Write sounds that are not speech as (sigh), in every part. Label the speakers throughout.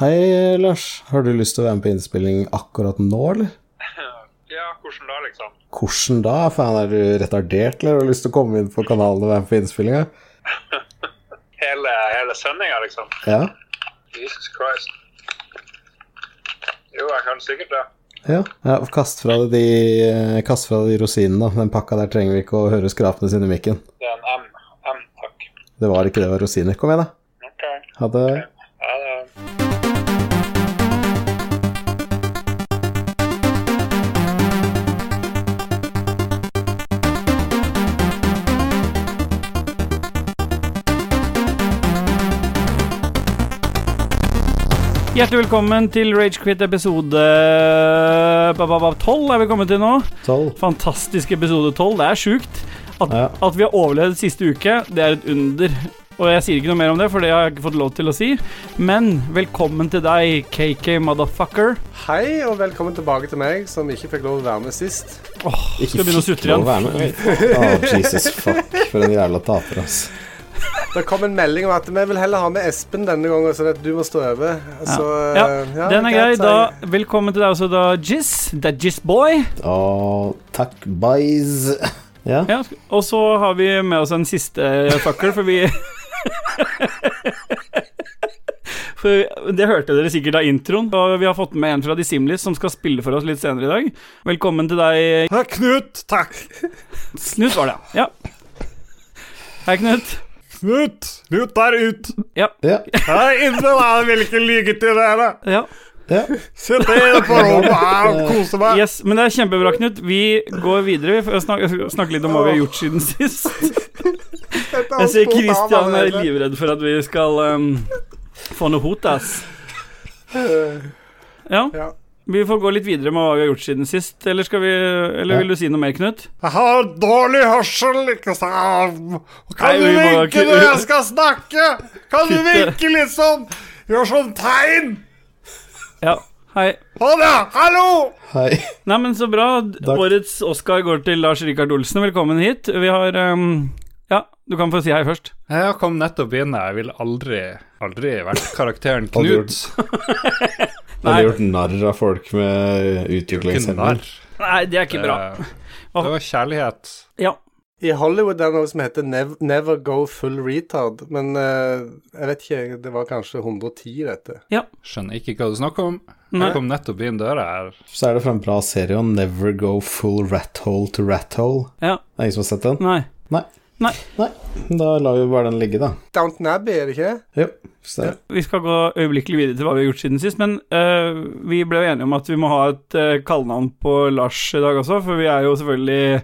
Speaker 1: Hei, Lars. Har du lyst til å være med på innspilling akkurat nå, eller?
Speaker 2: Ja, hvordan da, liksom?
Speaker 1: Hvordan da? Faen, er du retardert, eller har du lyst til å komme inn på kanalen og være med på innspillinga?
Speaker 2: Hele, hele sendinga, liksom?
Speaker 1: Ja?
Speaker 2: Jesus Christ. Jo, jeg kan sikkert det.
Speaker 1: Ja. ja kast, fra deg de, eh, kast fra deg de rosinene, da. Den pakka der trenger vi ikke å høre skrapene sine i mikken.
Speaker 2: Det er en M. M, takk.
Speaker 1: Det var ikke det, det var rosiner. Kom igjen, da.
Speaker 2: OK.
Speaker 1: Ha det.
Speaker 2: Ja, det er
Speaker 3: Hjertelig velkommen til Ragequit episode eh, ba, ba, ba, 12 er vi kommet til nå.
Speaker 1: Tolv.
Speaker 3: Fantastisk episode 12. Det er sjukt. At,
Speaker 1: Ja.
Speaker 3: at vi har overlevd siste uke, det er et under. Og jeg sier ikke noe mer om det, for det har jeg ikke fått lov til å si. Men velkommen til deg, KK motherfucker.
Speaker 4: Hei, og velkommen tilbake til meg, som ikke fikk lov å være med sist.
Speaker 3: Åh, skal jeg begynne å sutre
Speaker 1: lov å
Speaker 3: igjen.
Speaker 1: være med. Å, Jesus fuck, for en jævla taper, ass.
Speaker 4: Det kom en melding om at vi vil heller ha med Espen denne gangen, sånn at du må stå over. Så,
Speaker 3: Ja,
Speaker 4: eh, ja,
Speaker 3: Den er grei.
Speaker 4: greit,
Speaker 3: Da,
Speaker 4: sa jeg.
Speaker 3: velkommen til deg også, da, Jizz. Det er Jizzboy.
Speaker 1: Å, takk, boys. Ja?
Speaker 3: Ja, sk- og så har vi med oss en siste eh, fucker, for vi (laughs) For Det hørte dere sikkert av introen. Og vi har fått med en fra Dissimilis som skal spille for oss litt senere i dag. Velkommen til deg,
Speaker 4: Hei, Knut, takk.
Speaker 3: Knut, var det. Ja. Hei, Knut.
Speaker 4: Knut, Knut er ut.
Speaker 3: Ja.
Speaker 1: Ja.
Speaker 4: Hei, Indre, hvilken lygetid det er.
Speaker 3: ja.
Speaker 1: ja.
Speaker 4: Sitt ned på rommet her og kose
Speaker 3: (laughs) Yes, men det er kjempebra, Knut. Vi går videre. Vi får snakke, snakke litt om hva vi har gjort siden sist. Jeg ser Christian er livredd for at vi skal ehm, få noe hot, ass. Ja.
Speaker 4: Ja.
Speaker 3: Vi får gå litt videre med hva vi har gjort siden sist. Eller, skal vi, eller
Speaker 1: Ja.
Speaker 3: vil du si noe mer, Knut?
Speaker 4: Jeg har dårlig hørsel, ikke sant? Kan
Speaker 3: Nei,
Speaker 4: du
Speaker 3: vi må
Speaker 4: vinke
Speaker 3: kutte-
Speaker 4: når jeg skal snakke? Kan du
Speaker 3: Kutte.
Speaker 4: vinke litt sånn? Gjør sånn tegn?
Speaker 3: Ja. Hei.
Speaker 4: Ha det! Hallo!
Speaker 1: Hei.
Speaker 3: Nei, men så bra. Årets Oscar går til Lars Rikard Olsen. Velkommen hit. Vi har ehm, Ja, du kan få si hei først.
Speaker 5: Jeg kom nettopp inn. Jeg ville aldri, aldri vært karakteren
Speaker 1: Aldri
Speaker 5: Knut.
Speaker 1: Har du gjort narr av folk med
Speaker 5: Ikke
Speaker 1: utviklingshemming?
Speaker 5: narr.
Speaker 3: Nei, det er ikke bra.
Speaker 5: Eh, Det var kjærlighet.
Speaker 3: Ja.
Speaker 4: I Hollywood er det noe som heter Nev Never Go Full Retard, men eh, jeg vet ikke, det var kanskje 110 i dette.
Speaker 5: Skjønner ikke hva du snakker om.
Speaker 3: Nei.
Speaker 5: Jeg kom nettopp inn døra her.
Speaker 1: Så er det fra en bra serie om Never Go Full Rat Hole to Rat Hole.
Speaker 3: ja.
Speaker 1: Det er ingen som har sett den?
Speaker 3: Nei.
Speaker 1: Nei.
Speaker 3: Nei.
Speaker 1: Nei. Da lar vi bare den ligge, da.
Speaker 4: Downton Abbey, er det ikke?
Speaker 1: Jo. Så det-
Speaker 3: Vi skal gå øyeblikkelig videre til hva vi har gjort siden sist, men øh, vi ble jo enige om at vi må ha et øh, kallenavn på Lars i dag også, for vi er jo selvfølgelig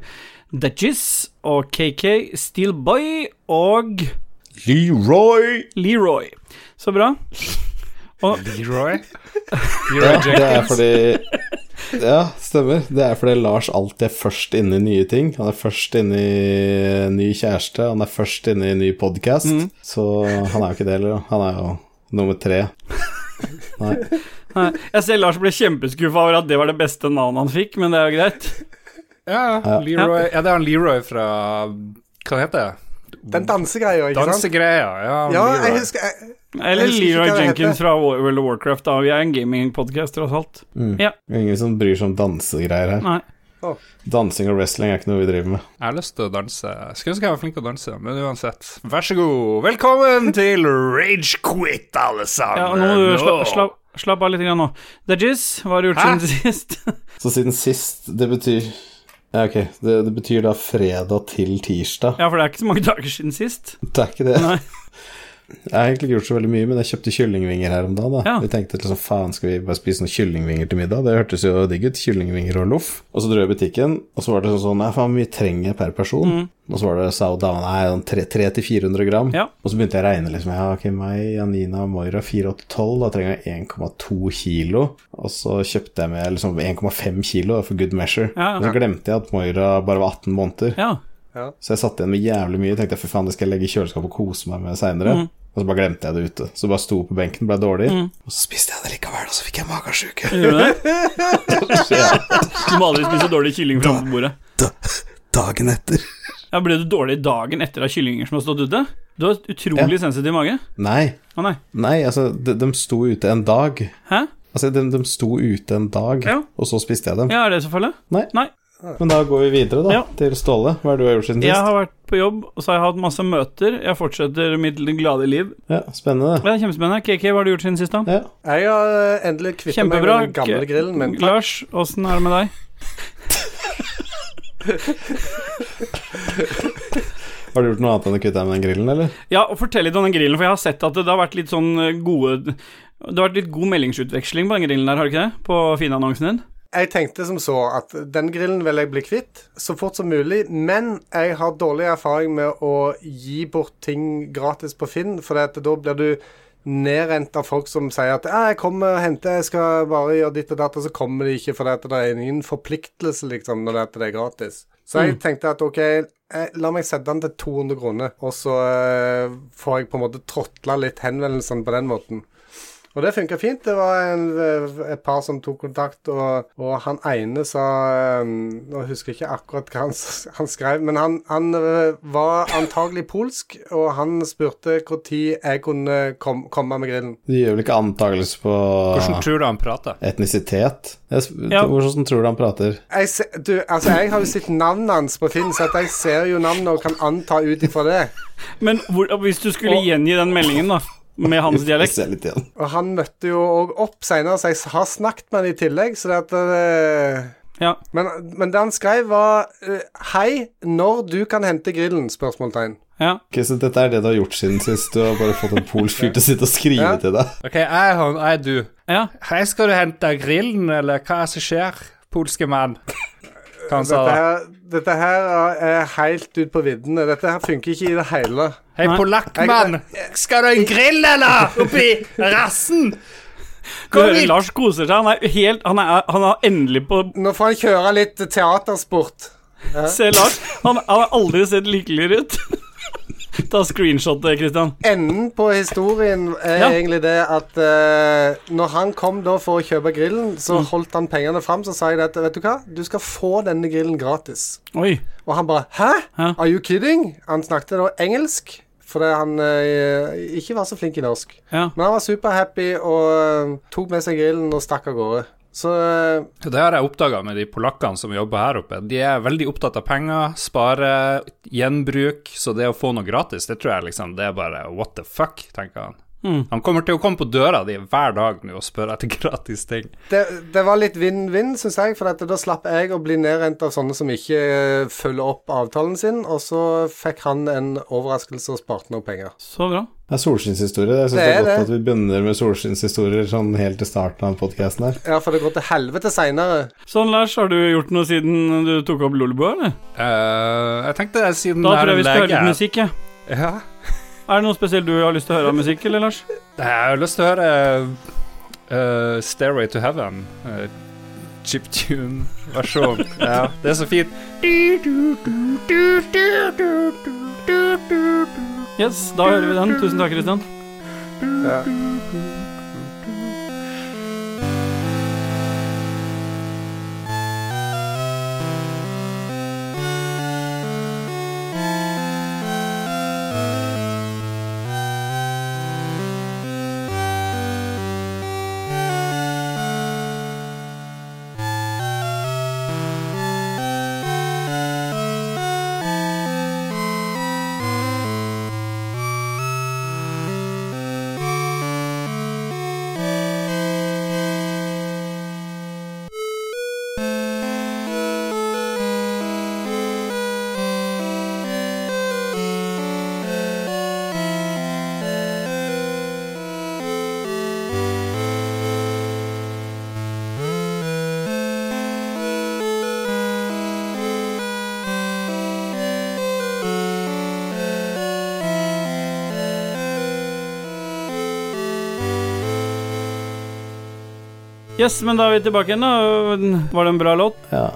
Speaker 3: Dutchies og KK, Steelboy og
Speaker 1: Leroy!
Speaker 3: Leroy. Så bra.
Speaker 5: Leroy? Leroy
Speaker 1: Ja, det er
Speaker 5: Jenkins.
Speaker 1: fordi Ja, stemmer. Det er fordi Lars alltid er først inne i nye ting. Han er først inne i ny kjæreste, han er først inne i ny podkast. Så han er jo ikke det heller. da. Han er jo nummer tre. Nei.
Speaker 3: Nei, Jeg ser Lars ble kjempeskuffa over at det var det beste navnet han fikk, men det er jo greit.
Speaker 5: Ja, Leroy. ja, det er han Leroy fra Hva heter det?
Speaker 4: Den dansegreia, ikke sant?
Speaker 5: Dansegreia. Ja,
Speaker 4: Ja, jeg
Speaker 5: Leroy.
Speaker 4: husker jeg,
Speaker 3: Eller
Speaker 4: Jeg husker ikke
Speaker 3: Leroy
Speaker 4: hva det
Speaker 3: Jenkins
Speaker 4: heter.
Speaker 3: fra War- World of Warcraft, da. Vi er en gamingpodkast, tross alt.
Speaker 1: Det er Ingen som bryr seg om dansegreier her.
Speaker 3: Nei.
Speaker 1: Dansing og wrestling er ikke noe vi driver med.
Speaker 5: Jeg har lyst til å danse. Skulle ønske jeg var flink til å danse, men uansett. Vær så god. Velkommen til Ragequit, alle sammen.
Speaker 3: Ja, nå må du sla, slapp- slapp av litt grann nå. Dutchies, hva har du gjort
Speaker 5: Hæ?
Speaker 3: siden sist?
Speaker 1: Så siden sist, det betyr Ja, ok, det, det betyr da fredag til tirsdag.
Speaker 3: Ja, for det er ikke så mange dager siden sist.
Speaker 1: Det er ikke det.
Speaker 3: Nei.
Speaker 1: Jeg har egentlig ikke gjort så veldig mye, men jeg kjøpte kyllingvinger her om dagen. da.
Speaker 3: Ja.
Speaker 1: Vi tenkte liksom, faen, skal vi bare spise noen kyllingvinger til middag? Det hørtes jo digg ut. Kyllingvinger og loff. Og så dro jeg i butikken, og så var det sånn sånn Nei, faen, hvor mye trenger jeg per person? Og så var det, sa hun dama, nei, sånn tre- 300-400 gram.
Speaker 3: Mm. Ja.
Speaker 1: Og så begynte jeg å regne, liksom. Ja, ok, meg, Janina og Moira, 4-8-12, da trenger jeg 1,2 kilo. Og så kjøpte jeg med liksom 1,5 kilo da, for good measure.
Speaker 3: Ja, ja.
Speaker 1: Men så glemte jeg at Moira bare var 18 måneder.
Speaker 3: Ja.
Speaker 1: Så jeg satt igjen med jævlig mye. Tenkte jeg, fy faen, det skal jeg legge i kjøleskapet og kose meg med seinere.
Speaker 3: Mm.
Speaker 1: Og så bare glemte jeg det ute. Så bare sto på benken, ble dårlig. Og så spiste jeg det likevel, og så fikk jeg magesjuke.
Speaker 3: Gjorde du det?
Speaker 1: Så ja,
Speaker 3: Du må aldri spise dårlig kylling fra bordet.
Speaker 1: Dagen etter.
Speaker 3: Ja, Ble du dårlig dagen etter av kyllinger som har stått ute? Du har utrolig sensitiv mage.
Speaker 1: Nei,
Speaker 3: Å nei.
Speaker 1: nei, altså, de, de sto ute en dag.
Speaker 3: Hæ?
Speaker 1: Altså, de, de sto ute en dag,
Speaker 3: Ja.
Speaker 1: og så spiste jeg dem.
Speaker 3: Ja, er det så farlig?
Speaker 1: Nei.
Speaker 3: Nei.
Speaker 1: Men da går vi videre, da,
Speaker 3: Ja.
Speaker 1: til Ståle. Hva er det du har gjort siden
Speaker 3: Jeg
Speaker 1: sist?
Speaker 3: har vært på jobb, og så har jeg hatt masse møter. Jeg fortsetter mitt glade liv.
Speaker 1: Ja, spennende.
Speaker 3: Det er kjempespennende. KK, hva har du gjort siden sist, da?
Speaker 1: Ja.
Speaker 4: Jeg har eh, endelig kvittet meg med
Speaker 3: Kjempebra.
Speaker 4: den gamle grillen min.
Speaker 3: Lars, åssen er det med deg?
Speaker 1: Har du gjort noe annet enn å kvitte deg med den grillen, eller?
Speaker 3: Ja, og fortell litt om den grillen, for jeg har sett at det, det har vært litt sånn eh, gode Det har vært litt god meldingsutveksling på den grillen der, har det ikke det? På Finn-annonsen din?
Speaker 4: Jeg tenkte som så at den grillen vil jeg bli kvitt så fort som mulig, men jeg har dårlig erfaring med å gi bort ting gratis på Finn, for da blir du nedrent av folk som sier at «Ja, 'jeg kommer og henter, jeg skal bare gjøre ditt og datt', og så kommer de ikke, for det er ingen forpliktelse liksom, når det at det er gratis. Så jeg tenkte at OK, eh, la meg sette den til 200 kroner, og så eh, får jeg på en måte tråtla litt henvendelsene på den måten. Og det funka fint. Det var en, eh, et par som tok kontakt, og, og han ene sa eh, Nå husker jeg ikke akkurat hva han, s- han skrev, men han, han eh, var antagelig polsk, og han spurte når jeg kunne kom, komme med grillen.
Speaker 1: Du gjør vel ikke antakelse på
Speaker 5: Hvordan tror du han prater?
Speaker 1: etnisitet? Jeg, sp-
Speaker 3: Ja.
Speaker 1: Hvordan tror du han prater?
Speaker 4: Jeg, se, du, altså, jeg har jo sett navnet hans på Finn, så at jeg ser jo navnet og kan anta ut ifra det.
Speaker 3: Men hvor, hvis du skulle gjengi den meldingen, da, med hans
Speaker 1: Jeg
Speaker 3: dialekt
Speaker 1: ser litt igjen.
Speaker 4: Og han møtte jo òg opp seinere, så jeg s- har snakket med han i tillegg, så det at eh,
Speaker 3: Ja.
Speaker 4: men, men det han skrev, var eh, Hei, når du kan hente grillen? spørsmålstegn.
Speaker 3: ja.
Speaker 1: Ok, så dette er det du har gjort siden sist? Du har bare fått en polsk fyr til å sitte og skrive
Speaker 4: Ja.
Speaker 1: til deg?
Speaker 5: Ok, jeg, han, jeg du.
Speaker 3: Ja.
Speaker 5: Hei, skal du hente grillen, eller hva er det som skjer, polske mann? Hva han sa
Speaker 4: Dette
Speaker 5: da?
Speaker 4: her, dette her er- er helt ut på viddene. Dette her funker ikke i det hele.
Speaker 5: Hei,
Speaker 3: Nei.
Speaker 5: polakkmann! Skal du ha en grill, eller? Oppi rassen?
Speaker 3: Du hører
Speaker 5: hit!
Speaker 3: Lars koser seg. Han er helt Han er, han er endelig på
Speaker 4: Nå får han kjøre litt teatersport.
Speaker 3: Se, Lars. Han han har aldri sett lykkeligere ut. (laughs) Ta screenshot, eh, Christian.
Speaker 4: Enden på historien er
Speaker 3: Ja.
Speaker 4: egentlig det at eh, når han kom da for å kjøpe grillen, så holdt han pengene fram, så sa jeg at vet du hva, du skal få denne grillen gratis.
Speaker 3: Oi.
Speaker 4: Og han bare Hæ?
Speaker 3: Hæ?
Speaker 4: Are you kidding? Han snakket da engelsk, fordi han eh, ikke var så flink i norsk.
Speaker 3: Ja.
Speaker 4: Men han var superhappy og eh, tok med seg grillen og stakk av gårde. Så eh,
Speaker 5: Det har jeg oppdaga med de polakkene som jobber her oppe. De er veldig opptatt av penger, spare, gjenbruk, så det å få noe gratis, det tror jeg liksom Det er bare what the fuck, tenker han.
Speaker 3: Hmm.
Speaker 5: Han kommer til å komme på døra di hver dag nå og spørre etter (laughs) gratis ting.
Speaker 4: det, det var litt vinn-vinn, syns jeg, for at da slapp jeg å bli nedrent av sånne som ikke eh, følger opp avtalen sin, og så fikk han en overraskelse og sparte noe penger.
Speaker 3: Så bra.
Speaker 1: Det er solskinnshistorie. Jeg syns
Speaker 4: Det
Speaker 1: det,
Speaker 4: er
Speaker 1: er godt
Speaker 4: det.
Speaker 1: at vi begynner med solskinnshistorier sånn helt i starten av podkasten her.
Speaker 4: Ja, for det går til helvete seinere.
Speaker 3: Sånn, Lars, har du gjort noe siden du tok opp Lolebua, eller?
Speaker 5: Eh, jeg tenkte det siden
Speaker 3: Da
Speaker 5: jeg
Speaker 3: tror
Speaker 5: er
Speaker 3: jeg vi skal høre
Speaker 5: lege.
Speaker 3: litt musikk, jeg.
Speaker 5: Ja.
Speaker 3: Er det noe spesielt du har lyst til å høre av musikk, eller, Lars?
Speaker 5: Jeg har lyst til å høre eh, Stairway to Heaven. eh,
Speaker 3: (laughs)
Speaker 5: Chiptune-versjon. ja, det er så fint.
Speaker 3: Yes, da hører vi den. Tusen takk, Christian.
Speaker 4: Ja.
Speaker 3: Yes, men da er vi tilbake igjen, da. Var det en bra låt?
Speaker 1: Ja,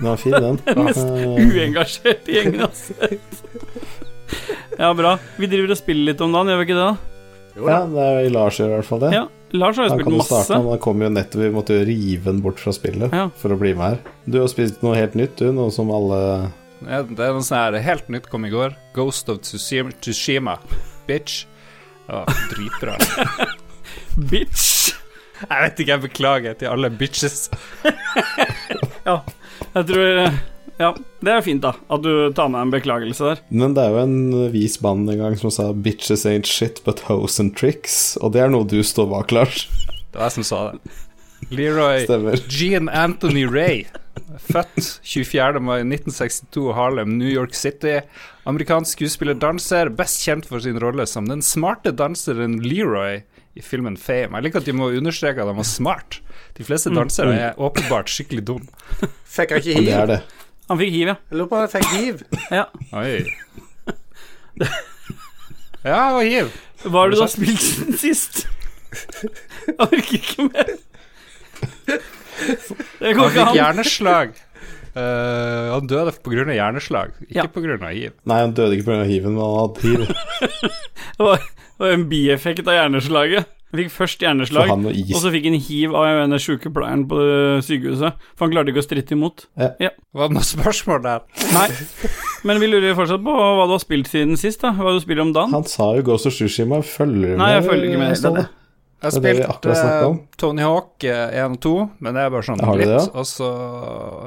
Speaker 1: den var fin,
Speaker 4: (laughs)
Speaker 1: den.
Speaker 3: Mest
Speaker 1: Eh,
Speaker 3: uengasjert i gjengen, altså. Ja, bra. Vi driver og spiller litt om dagen, gjør vi ikke det? da?
Speaker 1: Ja, det er jo Lars gjør i hvert fall det.
Speaker 3: Ja. Lars har jo
Speaker 1: Han
Speaker 3: spilt
Speaker 1: kan jo starte,
Speaker 3: masse.
Speaker 1: men han kom jo nettopp Vi måtte jo rive den bort fra spillet
Speaker 3: Ja.
Speaker 1: for å bli med her. Du har spilt noe helt nytt, du, noe som alle
Speaker 5: Ja, Det er noe sånn her helt nytt kom i går. Ghost of Tsushima, Tsushima bitch. Å, dritbra.
Speaker 3: Bitch!
Speaker 5: (laughs) Jeg vet ikke, jeg beklager til alle bitches.
Speaker 3: Jeg tror eh, Ja, det er fint, da. At du tar med en beklagelse der.
Speaker 1: Men det er jo en vis mann en gang som sa 'bitches ain't shit but hoes and tricks', og det er noe du står bak, Lars.
Speaker 5: Det var jeg som sa det. Leroy
Speaker 1: Stemmer.
Speaker 5: Jean Anthony Ray, født 24. mai 1962 i Harlem, New York City. Amerikansk skuespiller-danser, best kjent for sin rolle som den smarte danseren Leroy i filmen Fame. Jeg liker at de må understreke at han var smart. De fleste dansere er åpenbart skikkelig dum.
Speaker 4: Fikk jeg ikke
Speaker 1: Og det er
Speaker 4: hiv?
Speaker 1: det.
Speaker 3: Han fikk hiv, ja.
Speaker 4: Jeg lurer på om jeg fikk hiv.
Speaker 3: ja.
Speaker 5: Oi. Ja, og hiv.
Speaker 3: Hva har du da spilt siden sist? Jeg orker ikke mer. Det
Speaker 5: Han
Speaker 3: går ikke
Speaker 5: fikk
Speaker 3: an.
Speaker 5: hjerneslag. (laughs) Eh, han døde pga. hjerneslag, ikke
Speaker 3: Ja.
Speaker 5: på grunn av hiv.
Speaker 1: Nei, han døde ikke pga. hiven, men han hadde
Speaker 3: (laughs)
Speaker 1: hiv.
Speaker 3: Det var, det var en bieffekt av hjerneslaget. Han fikk først
Speaker 1: For
Speaker 3: hjerneslag,
Speaker 1: han og
Speaker 3: og
Speaker 1: is.
Speaker 3: så fikk han hiv av den sykepleieren på sykehuset. For han klarte ikke å stritte imot.
Speaker 5: Det var noen spørsmål der.
Speaker 3: Nei. Men vi lurer fortsatt på hva du har spilt siden sist, da. Hva du spiller om dagen.
Speaker 1: Han sa jo 'Ghost of Tsushima'. Følger du
Speaker 3: Nei, jeg følger ikke med, det er
Speaker 1: Ståle?
Speaker 3: det.
Speaker 5: Jeg
Speaker 1: Det er det vi
Speaker 5: spilte
Speaker 1: akkurat snakket om.
Speaker 5: Tony Hawk eh, 1 og 2, men det er bare sånn
Speaker 1: Har du
Speaker 5: litt.
Speaker 1: det, ja?
Speaker 5: Og så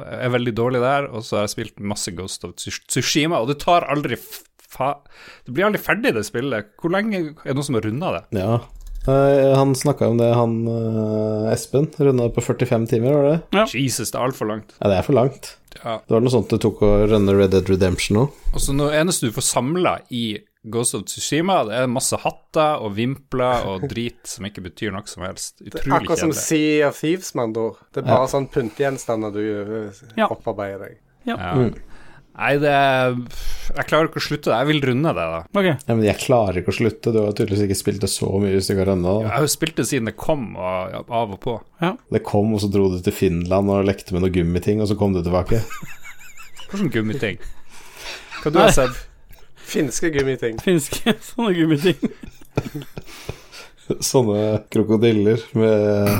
Speaker 5: er jeg veldig dårlig der, og så har jeg spilt masse Ghost of Tsush- Tsushima, og det tar aldri f- fa... Det blir aldri ferdig, det spillet. Hvor lenge er det noen som har runda det?
Speaker 1: Ja. Eh, Han snakka om det, han eh, Espen. Runda på 45 timer, var det?
Speaker 3: Ja.
Speaker 5: Jesus, det er altfor langt.
Speaker 1: Ja, det er for langt.
Speaker 5: Ja.
Speaker 1: Det var noe sånt det tok å runne Red Dead Redemption òg.
Speaker 5: Og så noe eneste du får samla i Ghost of Tsushima, det er masse hatter og vimpler og drit som ikke betyr noe som helst. Utrolig
Speaker 4: Akkurat som
Speaker 5: kjedelig.
Speaker 4: Sea of Thieves, med andre ord. Det er bare sånn pyntegjenstander du eh,
Speaker 3: Ja.
Speaker 4: opparbeider deg.
Speaker 5: Ja. Nei, det er Jeg klarer ikke å slutte det. Jeg vil runde det, da.
Speaker 3: Ok.
Speaker 1: Ja, men jeg klarer ikke å slutte. Du har jo tydeligvis ikke spilt det så mye hvis du ikke har runda.
Speaker 5: Jeg
Speaker 1: da.
Speaker 5: har jo spilt det siden det kom, og, ja, av og på.
Speaker 1: Det kom, og så dro du til Finland og lekte med noen gummiting, og så kom du tilbake. (laughs)
Speaker 5: Hvordan gummiting? Hva du har sett?
Speaker 4: Finske gummiting.
Speaker 3: Finske (laughs) sånne gummiting.
Speaker 1: Sånne krokodiller med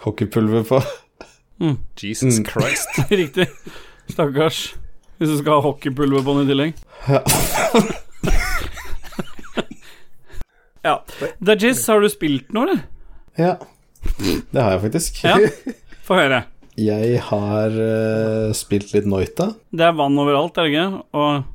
Speaker 1: hockeypulver på.
Speaker 5: Jesus Christ.
Speaker 3: (laughs) Riktig. Stakkars. Hvis du skal ha hockeypulver på den i tillegg.
Speaker 1: Ja.
Speaker 3: (laughs) Ja. Dajis, har du spilt noe, eller?
Speaker 1: Ja, det har jeg faktisk.
Speaker 3: Ja. Få høre.
Speaker 1: Jeg har eh, spilt litt Noita,
Speaker 3: Det er vann overalt, er det ikke? Og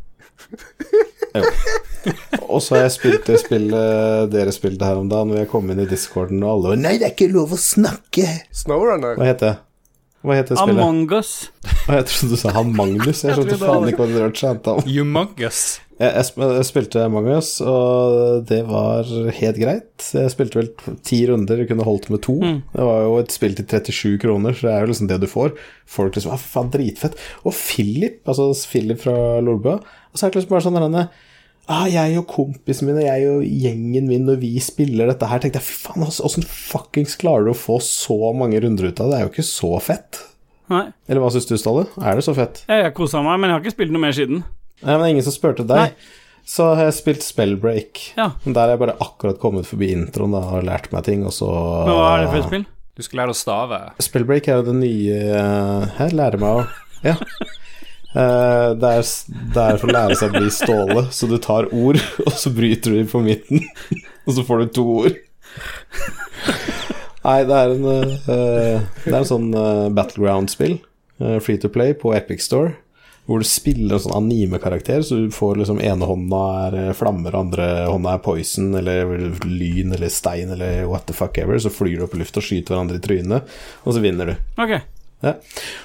Speaker 1: og så har jeg spilt det spillet (laughs) dere spilte her om dagen, og jeg kom inn i discorden, og alle var Nei, det er ikke lov å snakke!
Speaker 4: Snowrunner.
Speaker 1: Hva heter det? Hva heter det spillet?
Speaker 3: Among us.
Speaker 1: Å, jeg trodde du sa han Magnus. Jeg skjønte faen ikke hva det rørte seg om.
Speaker 5: Humongous.
Speaker 1: Jeg, jeg, sp- jeg spilte Among us, og det var helt greit. Jeg spilte vel ti runder, jeg kunne holdt med to. Det var jo et spill til 37 kroner, så det er jo liksom det du får. Folk liksom «Ah, for faen, dritfett. Og Philip, altså Philip fra Lolbua, og så er det liksom bare sånn der henne Ah, jeg og kompisen min og jeg og gjengen min når vi spiller dette her, tenkte jeg fy faen, altså, åssen fuckings klarer du å få så mange runder ut av det? Det er jo ikke så fett.
Speaker 3: Nei.
Speaker 1: Eller hva syns du, Ståle? Er det så fett?
Speaker 3: Jeg, jeg kosa meg, men jeg har ikke spilt noe mer siden.
Speaker 1: Nei, men det er ingen som spurte deg.
Speaker 3: Nei.
Speaker 1: Så har jeg spilt Spellbreak.
Speaker 3: Ja.
Speaker 1: Men der har jeg bare akkurat kommet forbi introen da, og lært meg ting, og så
Speaker 3: Men hva er det for et spill?
Speaker 5: Du skal lære å stave.
Speaker 1: Spellbreak er jo det nye eh, Her lærer meg å
Speaker 3: (laughs)
Speaker 1: Ja. Eh, det, er, s- det er for å lære seg å bli Ståle, så du tar ord, (laughs) og så bryter du dem på midten, (laughs) og så får du to ord. Nei, det er en, eh, det er en sånn eh, battleground-spill, eh, free to play, på Epic Store, hvor du spiller en sånn anime-karakter, så du får liksom ene hånda er eh, flammer, og andre hånda er poison, eller lyn, eller stein, eller what the fuck ever, så flyr du opp i lufta og skyter hverandre i trynet, og så vinner du.
Speaker 3: Ok.
Speaker 1: Ja.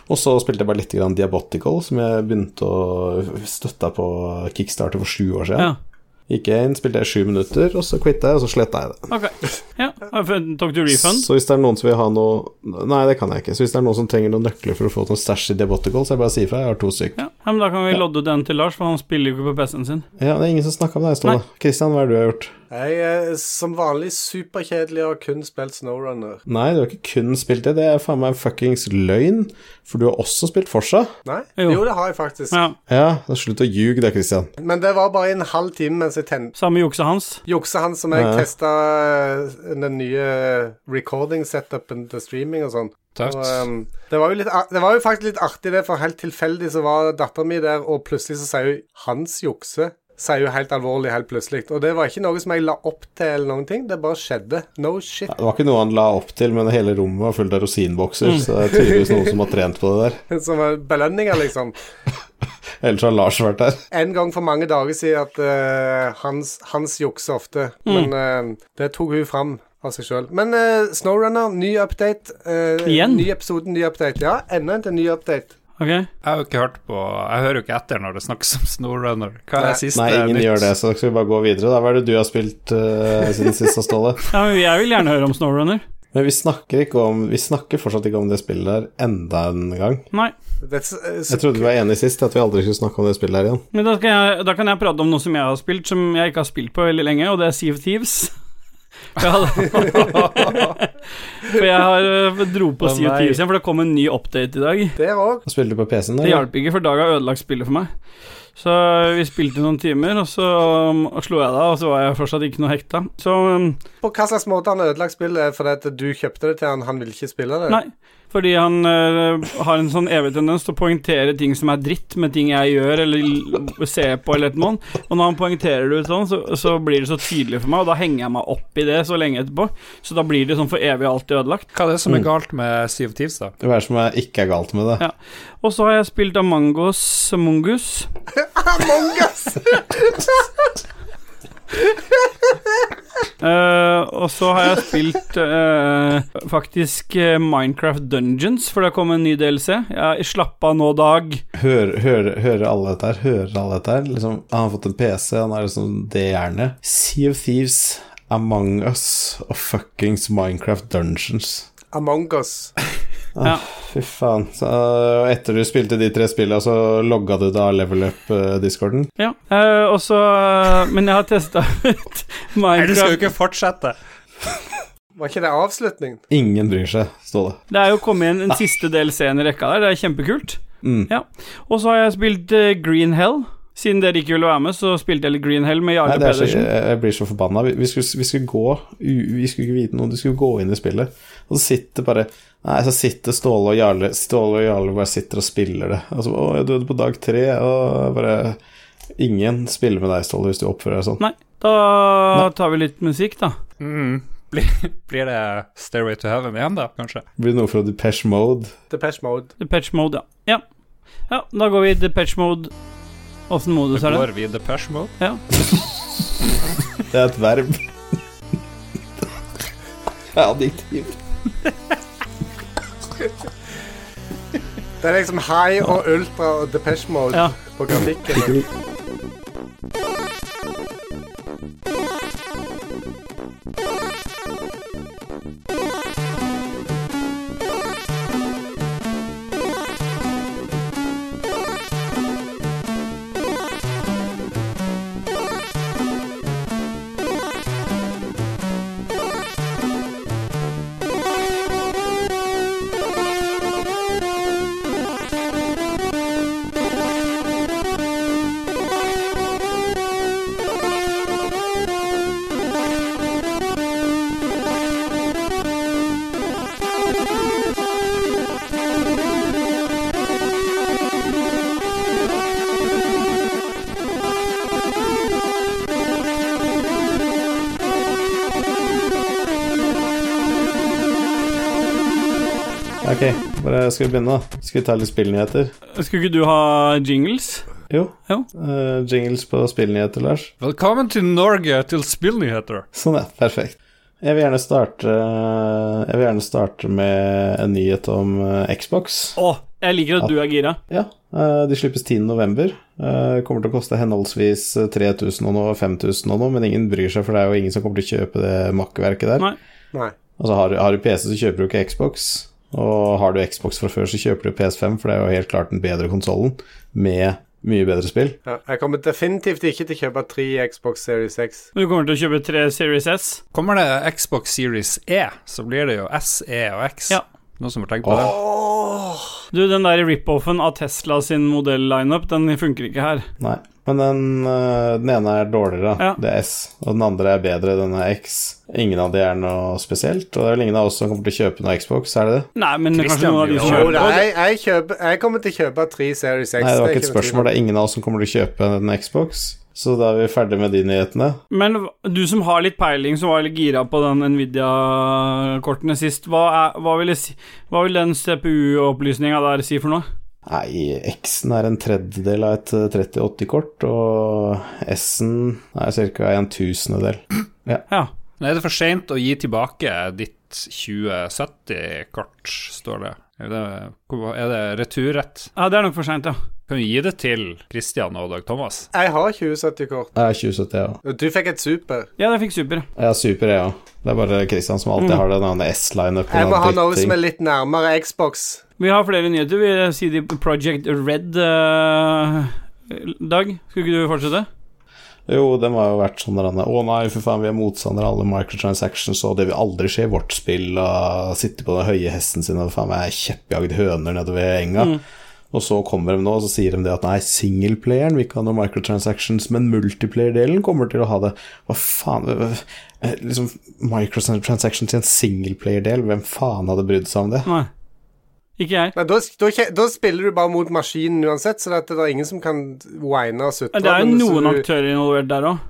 Speaker 1: Og så spilte jeg bare litt grann Diabotical, som jeg begynte å støtte på Kickstarter for sju år
Speaker 3: Ja.
Speaker 1: siden. Gikk jeg inn, spilte jeg sju minutter, og så quitta jeg, og så sletta jeg det.
Speaker 3: Ok. Ja. har jeg fått- Tok du refund?
Speaker 1: Så hvis det er noen som vil ha noe Nei, det kan jeg ikke. Så hvis det er noen som trenger noen nøkler for å få noen stæsj i Diabotical, så er det bare å si ifra. Jeg har to stykk.
Speaker 3: Ja. ja, men da kan vi lodde den til Lars, for han spiller jo ikke på PC-en sin.
Speaker 1: Ja, det er ingen som snakka med deg, Ståle. Kristian, hva er det du har gjort?
Speaker 4: Jeg er som vanlig superkjedelig og har kun spilt Snowrunner.
Speaker 1: Nei, du har ikke kun spilt det. Det er faen meg en fuckings løgn, for du har også spilt Forsa.
Speaker 4: Nei?
Speaker 3: Jo.
Speaker 4: Jo, det har jeg faktisk.
Speaker 3: Ja,
Speaker 1: Ja, så slutt å ljuge da, Christian.
Speaker 4: Men det var bare i en halv time mens jeg ten-
Speaker 3: samme juksa hans.
Speaker 4: juksa han som jeg
Speaker 1: Ja.
Speaker 4: testa den nye recording-setupen til streaming og sånn.
Speaker 5: Tøft.
Speaker 4: Og, ehm, det, var jo litt, ar- det var jo faktisk litt artig, det, for helt tilfeldig så var dattera mi der, og plutselig så sier hun 'hans jukse'. Sier hun helt alvorlig helt plutselig. Og det var ikke noe som jeg la opp til, eller noen ting. Det bare skjedde. No shit.
Speaker 1: Det var ikke noe han la opp til, men hele rommet var fullt av rosinbokser, så det er tydeligvis noen som har trent på det der.
Speaker 4: (laughs) Som en belønninger, liksom.
Speaker 1: Ellers har Lars vært der.
Speaker 4: En gang for mange dager siden at eh, hans, hans jukser ofte.
Speaker 3: Mm.
Speaker 4: Men eh, det tok hun fram av seg sjøl. Men eh, Snowrunner, ny update. eh,
Speaker 3: Igjen?
Speaker 4: Ny episode, ny update. Ja, enda en til ny update.
Speaker 3: Ok?
Speaker 5: Jeg har jo ikke hørt på Jeg hører jo ikke etter når det snakkes om Snowrunner. Hva
Speaker 4: Nei.
Speaker 5: er siste
Speaker 1: Nei, ingen
Speaker 5: nytt?
Speaker 1: gjør det, så skal vi bare gå videre. Da. Hva er det du har spilt eh, siden sist, da, Ståle?
Speaker 3: Ja, men jeg vil gjerne høre om Snowrunner.
Speaker 1: Men vi snakker, ikke om, vi snakker fortsatt ikke om det spillet der enda en gang.
Speaker 3: Nei.
Speaker 4: That's, eh, så-
Speaker 1: Jeg trodde vi var enige sist at vi aldri skulle snakke om det spillet der igjen.
Speaker 3: Men da, skal jeg, da kan jeg prate om noe som jeg har spilt, som jeg ikke har spilt på veldig lenge, og det er Sea of Thieves. (laughs) For jeg, hadde, for jeg har, eh, dro på
Speaker 5: Å,
Speaker 3: Sea of
Speaker 5: nei.
Speaker 3: Thieves igjen, for det kom en ny update i dag.
Speaker 4: Der òg.
Speaker 1: Og spilte du på PC-en
Speaker 3: Det
Speaker 1: der?
Speaker 3: hjalp ikke, for Dag har ødelagt spillet for meg. Så vi spilte noen timer, og så um, slo jeg deg, og så var jeg fortsatt ikke noe hekta. Så um,
Speaker 4: På hva slags måte han har ødelagt spillet er fordi at du kjøpte det til han, han ville ikke spille det?
Speaker 3: nei. Fordi han eh, har en sånn evig tendens til å poengtere ting som er dritt, med ting jeg gjør eller l- ser på eller et eller annet. Og når han poengterer det ut sånn, så, så blir det så tydelig for meg, og da henger jeg meg opp i det så lenge etterpå. Så da blir det sånn for evig og alltid ødelagt.
Speaker 5: Hva er det som er galt med Sea of Thieves, da?
Speaker 1: Hva er det som er ikke er galt med det?
Speaker 3: Ja. Og så har jeg spilt Amangos Mongus.
Speaker 4: Among us!
Speaker 3: Eh, og så har jeg spilt eh, faktisk eh, Minecraft Dungeons, for det kom en ny DLC. Jeg slapp av nå, Dag.
Speaker 1: Hører, hører, hører alle dette her? Hører alle dette her? Liksom, han har fått en PC, han er liksom det gjerne. Sea of Thieves, Among Us og fuckings Minecraft Dungeons.
Speaker 4: Among us.
Speaker 3: Ja.
Speaker 1: Fy faen. Så, øh, etter du spilte de tre spillene, så logga du da level up-discorden?
Speaker 3: Ja. Eh, og så eh, Men jeg har
Speaker 1: (laughs)
Speaker 3: testa ut
Speaker 5: Nei, du skal jo
Speaker 3: Minecraft.
Speaker 5: ikke fortsette.
Speaker 4: Var ikke det avslutningen?
Speaker 1: Ingen bryr seg, står det.
Speaker 3: Det er jo kommet inn en siste DLC-en i rekka der. Det er kjempekult.
Speaker 1: Mm.
Speaker 3: Ja. Og så har jeg spilt eh, Green Hell. Siden dere ikke ville være med, så spilte jeg litt Green Hell med
Speaker 1: Nei,
Speaker 3: Jarle
Speaker 1: det er så,
Speaker 3: Pedersen.
Speaker 1: jeg jeg blir så forbanna. Vi, vi, skulle, vi skulle gå u- Vi skulle ikke vite noe, du skulle gå inn i spillet, og så sitter bare Nei, så sitter Ståle og Jarle Ståle og Jarle bare sitter og spiller det. Altså, å, jeg døde på dag tre, og bare Ingen spiller med deg, Ståle, hvis du oppfører deg sånn.
Speaker 3: Nei. Da tar vi litt musikk, da.
Speaker 5: Mm. Blir, blir det Stairway to Heaven igjen, da, kanskje?
Speaker 1: Blir det noe fra Depeche Mode?
Speaker 4: Depeche Mode.
Speaker 3: Depeche Mode, ja. Ja, ja da går vi i Depeche Mode. Åssen modus er det?
Speaker 5: Går vi i Depeche Mode?
Speaker 1: Det er et verb. (laughs) Det er Adjektiv.
Speaker 4: Det er liksom high og ultra og Depeche Mode
Speaker 3: Ja.
Speaker 4: på grafikken.
Speaker 1: Ok, bare skal vi begynne, da? Skal vi ta litt spillnyheter?
Speaker 3: Skulle ikke du ha jingles?
Speaker 1: Jo.
Speaker 3: Jo.
Speaker 1: Eh, jingles på spillnyheter, Lars.
Speaker 5: Velkommen til Norge, til spillnyheter.
Speaker 1: Sånn, ja. Perfekt. Jeg vil gjerne starte Jeg vil gjerne starte med en nyhet om eh, Xbox.
Speaker 3: Å, jeg liker at du er gira.
Speaker 1: Ja, eh, de slippes 10.11. Kommer til å koste henholdsvis 3000 og noe og 5000 og noe, men ingen bryr seg, for det er jo ingen som kommer til å kjøpe det makkverket der.
Speaker 3: Nei.
Speaker 4: Nei.
Speaker 1: Altså, har, du- har du PC, så kjøper du ikke Xbox. Og har du Xbox fra før, så kjøper du PS5, for det er jo helt klart den bedre konsollen med mye bedre spill.
Speaker 4: Ja, jeg kommer definitivt ikke til å kjøpe tre Xbox Series X.
Speaker 3: Men du kommer til å kjøpe tre Series S?
Speaker 5: Kommer det Xbox Series E, så blir det jo S, E og X.
Speaker 3: Ja.
Speaker 5: Noen som har tenkt på det?
Speaker 3: Du, den der rip-offen av Tesla sin modell-lineup, den funker ikke her.
Speaker 1: Nei. Men den, øh, den ene er dårligere,
Speaker 3: Ja.
Speaker 1: det er S, og den andre er bedre, den er X. Ingen av de er noe spesielt, og det er vel ingen av oss som kommer til å kjøpe noe Xbox, er det det?
Speaker 3: Nei, men kanskje
Speaker 5: Christian
Speaker 3: noen av de
Speaker 5: blir
Speaker 3: som
Speaker 4: Jo,
Speaker 5: jo-
Speaker 3: kjøper
Speaker 4: da,
Speaker 3: Og det-
Speaker 4: jeg, jeg, kjøper, jeg kommer til å kjøpe tre Series X.
Speaker 1: Nei, det var ikke et
Speaker 4: er noe tvil om.
Speaker 1: spørsmål. Det er ingen av oss som kommer til å kjøpe en Xbox, så da er vi ferdig med de nyhetene.
Speaker 3: Men du som har litt peiling, som var litt gira på den Nvidia-kortene sist, hva, er, hva, vil, si, hva vil den CPU-opplysninga der si for noe?
Speaker 1: Nei, X-en er en tredjedel av et eh, 3080-kort, og S-en er ca. en tusendedel.
Speaker 3: Ja.
Speaker 5: Men er det for seint å gi tilbake ditt 2070-kort, står det. Er det, hvor- er det returrett?
Speaker 3: ja, det er nok for seint, ja.
Speaker 5: Kan vi gi det til Christian og Dag Thomas?
Speaker 4: Jeg har 2070-kort.
Speaker 1: Det er 2070, ja.
Speaker 4: Du fikk et super.
Speaker 3: Ja, jeg fikk super.
Speaker 1: Ja, super, jeg òg. Det er bare Christian som
Speaker 4: Mm.
Speaker 1: alltid har den andre S-line-upen.
Speaker 4: Jeg må ha
Speaker 1: og
Speaker 4: noe som
Speaker 1: dritting.
Speaker 4: er litt nærmere Xbox.
Speaker 3: Vi har flere nyheter. Vi sier de Project Red eh, Dag, skulle ikke du fortsette?
Speaker 1: Jo, den har jo vært sånn der Å nei, for faen, vi er motstandere av alle microtransactions, og det vil aldri skje i vårt spill. Og sitte på den høye hesten sin og faen meg kjeppjagd høner nede ved enga. Og så kommer de nå og så sier de det at nei, singleplayeren vil ikke ha noen microtransactions, men multiplayer-delen kommer til å ha det. Hva faen øh, øh, Liksom, microtransactions i en singleplayer-del, hvem faen hadde brydd seg om det?
Speaker 3: Nei. Ikke jeg.
Speaker 4: Nei, da, da, kje- da spiller du bare mot maskinen uansett, så det er, det er ingen som kan whine og sutre.
Speaker 3: Men Det er jo
Speaker 4: men hvis
Speaker 3: noen
Speaker 4: du-
Speaker 3: aktører involvert der òg.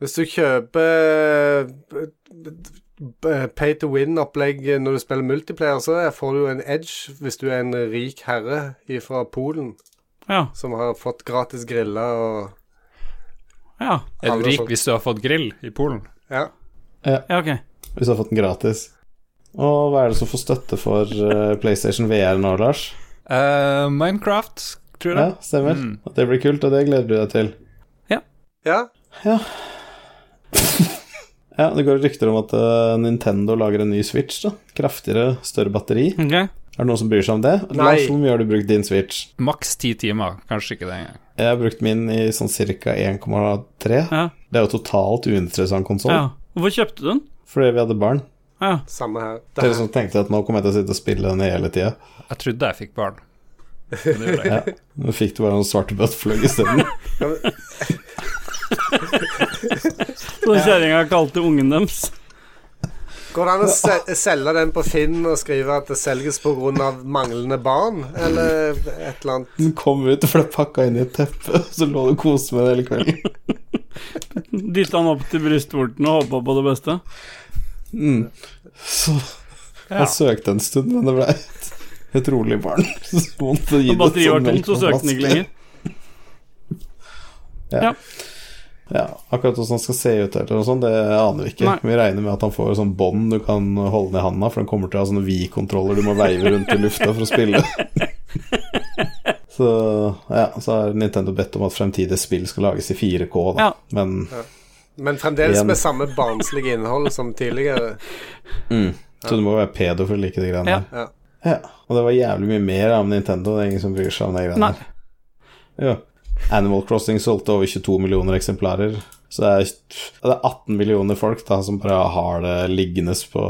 Speaker 4: Hvis du kjøper eh, b- b- pay to win-opplegg når du spiller multiplayer, så får du jo en edge hvis du er en rik herre fra Polen
Speaker 3: Ja.
Speaker 4: som har fått gratis griller og
Speaker 3: ja.
Speaker 5: Er du
Speaker 4: Alle
Speaker 5: rik
Speaker 4: folk.
Speaker 5: hvis du har fått grill i Polen?
Speaker 4: Ja.
Speaker 3: Ja, ok.
Speaker 1: Hvis du har fått den gratis. Og hva er det som får støtte for øh, PlayStation VR nå, Lars?
Speaker 5: Eh, Minecraft, tror jeg.
Speaker 1: Ja, stemmer.
Speaker 5: Mm.
Speaker 1: Og Det blir kult, og det gleder du deg til.
Speaker 4: ja.
Speaker 1: Ja, Det går rykter om at eh, Nintendo lager en ny Switch. da Kraftigere, større batteri.
Speaker 3: Ok.
Speaker 1: Er det noen som bryr seg om det? Lars, hvor mye har du brukt din Switch?
Speaker 5: Maks ti timer, kanskje ikke det engang.
Speaker 1: Jeg har brukt min i sånn ca. 1,3.
Speaker 3: Ja.
Speaker 1: Det er jo totalt uinteressant konsoll,
Speaker 3: ja. Hvorfor kjøpte du den?
Speaker 1: fordi vi hadde barn.
Speaker 3: Ja.
Speaker 4: Samme her. Det
Speaker 1: Dere
Speaker 4: her.
Speaker 1: som tenkte at nå kommer jeg til å sitte og spille den hele tida.
Speaker 5: Jeg trodde jeg
Speaker 4: (laughs)
Speaker 5: fikk barn. Men det gjorde jeg ikke.
Speaker 1: Nå fikk du bare noen svarte buttplug
Speaker 3: (laughs)
Speaker 1: isteden.
Speaker 3: Så den kjerringa kalte ungen deres.
Speaker 4: Går det an å se- selge den på Finn og skrive at det selges pga. manglende barn, eller et eller annet?
Speaker 1: Den kom ut og ble pakka inn i et teppe, så lå du og koste med den hele kvelden.
Speaker 3: Dytta han opp til brystvorten og håpa på det beste.
Speaker 1: Mm. Så jeg søkte en stund, men det ble et, et rolig barn. (laughs) Så vondt å gi
Speaker 3: Når
Speaker 1: det
Speaker 3: batteriet var
Speaker 1: sånn
Speaker 3: tomt, så søkte den ikke lenger.
Speaker 1: Ja, akkurat hvordan han skal se ut, eller noe sånt, det aner vi ikke.
Speaker 3: Nei.
Speaker 1: Vi regner med at han får sånn bånd du kan holde ned handa, for den kommer til å ha sånne vi-kontroller du må veive rundt i lufta for å
Speaker 3: (laughs)
Speaker 1: spille. så ja, så har Nintendo bedt om at fremtidige spill skal lages i 4K, da.
Speaker 3: Ja.
Speaker 1: Men
Speaker 4: Men fremdeles
Speaker 1: Igjen.
Speaker 4: med samme barnslige innhold som tidligere.
Speaker 1: så du må være pedo for å like de greiene
Speaker 3: Ja.
Speaker 1: der.
Speaker 4: Ja.
Speaker 1: Ja. Og det var jævlig mye mer om Nintendo, det er ingen som bryr seg om de greiene
Speaker 3: Nei.
Speaker 1: der. Ja. Animal Crossing solgte over 22 millioner eksemplarer. Så det er, det er 18 millioner folk da som bare har det liggende på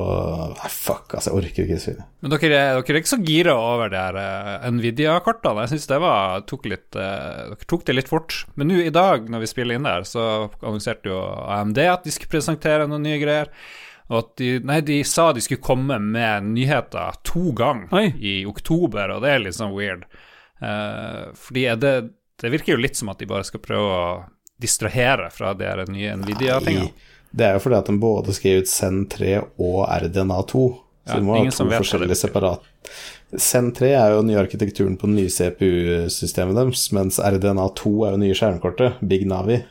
Speaker 1: Nei, fuck, altså, jeg orker ikke si det.
Speaker 5: Men dere, er- dere er ikke så gira over de her eh, Nvidia-kortene. Jeg syns det var, tok litt eh, Dere tok det litt fort. Men nå i dag, når vi spiller inn der, så annonserte jo AMD at de skulle presentere noen nye greier. Og at de Nei, de sa de skulle komme med nyheter to ganger
Speaker 3: Oi.
Speaker 5: i oktober, og det er litt sånn weird. Eh, fordi er det Det virker jo litt som at de bare skal prøve å distrahere fra de her nye Nvidia-tingene.
Speaker 1: Nei, Det er jo fordi at den både skrev ut SEN3 og RDNA2. Så
Speaker 5: Ja,
Speaker 1: du må ha
Speaker 5: ingen
Speaker 1: to
Speaker 5: som vet hva det
Speaker 1: forskjellige
Speaker 5: betyr.
Speaker 1: separat SEN3 er jo den nye arkitekturen på det nye CPU-systemet deres, mens RDNA2 er jo det nye skjermkortet, Big Navi.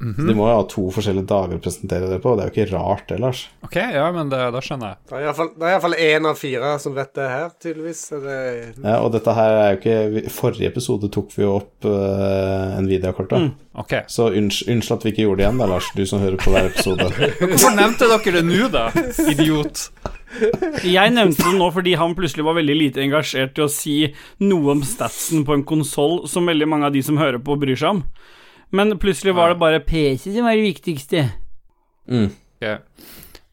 Speaker 1: Så de må jo ha to forskjellige dager å presentere det på, og det er jo ikke rart det, Lars.
Speaker 5: Ok, ja, men det, da skjønner jeg.
Speaker 4: Det er iallfall- det er iallfall én av fire som vet det her, tydeligvis. Så det,
Speaker 1: Ja, og dette her er jo ikke vi- Forrige episode tok vi jo opp uh, Nvidia-kortet.
Speaker 5: Ok.
Speaker 1: Så unns- unnskyld at vi (laughs)
Speaker 5: (laughs)
Speaker 1: ikke gjorde det igjen, da, Lars, du som hører på hver episode.
Speaker 5: Hvorfor nevnte dere det nå, da? Idiot.
Speaker 3: Jeg nevnte det nå fordi han plutselig var veldig lite engasjert i å si noe om statsen på en konsoll som veldig mange av de som hører på, bryr seg om. Men plutselig var det bare PC som var det viktigste.
Speaker 5: Ok.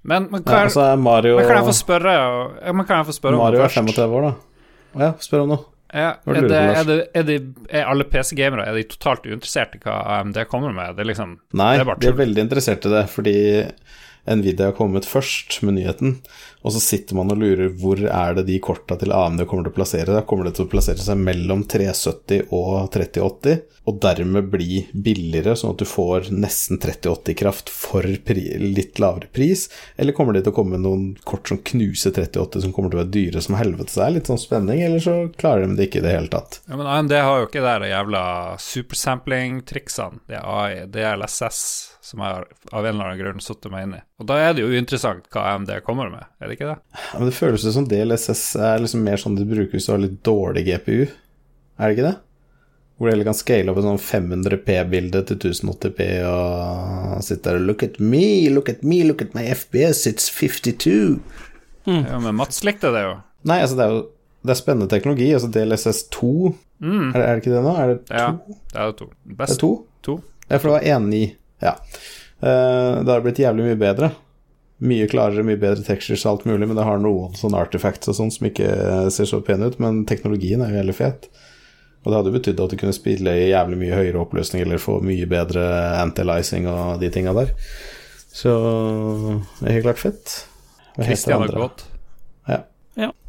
Speaker 5: Men, men,
Speaker 1: Ja,
Speaker 5: hva er,
Speaker 1: altså, Mario,
Speaker 5: men kan jeg få spørre ja, men kan jeg få spørre
Speaker 1: Mario
Speaker 5: om
Speaker 1: er 35 år, da. Å ja, spør om noe.
Speaker 5: Ja,
Speaker 1: Hva lurer
Speaker 5: er,
Speaker 1: du på,
Speaker 5: det, er,
Speaker 1: Lars?
Speaker 5: det, er, det, er alle PC-gamere Er de totalt uinteressert i hva AMD kommer med? Det er liksom
Speaker 1: Nei,
Speaker 5: Det er bare
Speaker 1: de er
Speaker 5: tull.
Speaker 1: veldig interessert i det, fordi Nvidia har kommet først med nyheten, og så sitter man og lurer hvor er det de korta til AMD kommer til å plassere seg. Kommer det til å plassere seg mellom 370 og 3080, og dermed bli billigere, sånn at du får nesten 3080 kraft for pri litt lavere pris? Eller kommer det til å komme noen kort som knuser 3080, som kommer til å være dyre som helvete? Så det er litt sånn spenning, eller så klarer de det ikke i det hele tatt.
Speaker 5: Ja, Men AMD har jo ikke det der jævla supersampling-triksene. Det er AI, det er LSS som har av en eller annen grunn satt meg inn i. Og da er det jo uinteressant hva AMD kommer med, er det ikke det?
Speaker 1: Ja, men det føles jo som DLSS er liksom mer sånn det brukes til å ha litt dårlig GPU. Er det ikke det? Hvor du heller kan scale opp et sånn 500P-bilde til 1080P og sitte der og Look at me, look at me, look at my FBS, it's 52.
Speaker 5: Ja, men Mats likte det jo.
Speaker 1: Nei, altså det er jo det er spennende teknologi. Altså DLSS2, er, det, er det ikke det nå? Er det to?
Speaker 5: Ja, det er jo to.
Speaker 1: Det
Speaker 5: Best
Speaker 1: er to?
Speaker 5: to.
Speaker 1: Ja, for det var 1.9. Ja. Eh, det har blitt jævlig mye bedre. Mye klarere, mye bedre textures og alt mulig, men det har noen sånne artifacts og sånn som ikke eh, ser så pene ut, men teknologien er jo veldig fet. Og det hadde jo betydd at du kunne spille i jævlig mye høyere oppløsning eller få mye bedre anti-licing og de tinga der. Så det er helt klart fett. Hva heter
Speaker 5: Christian har
Speaker 1: andre?
Speaker 5: gått.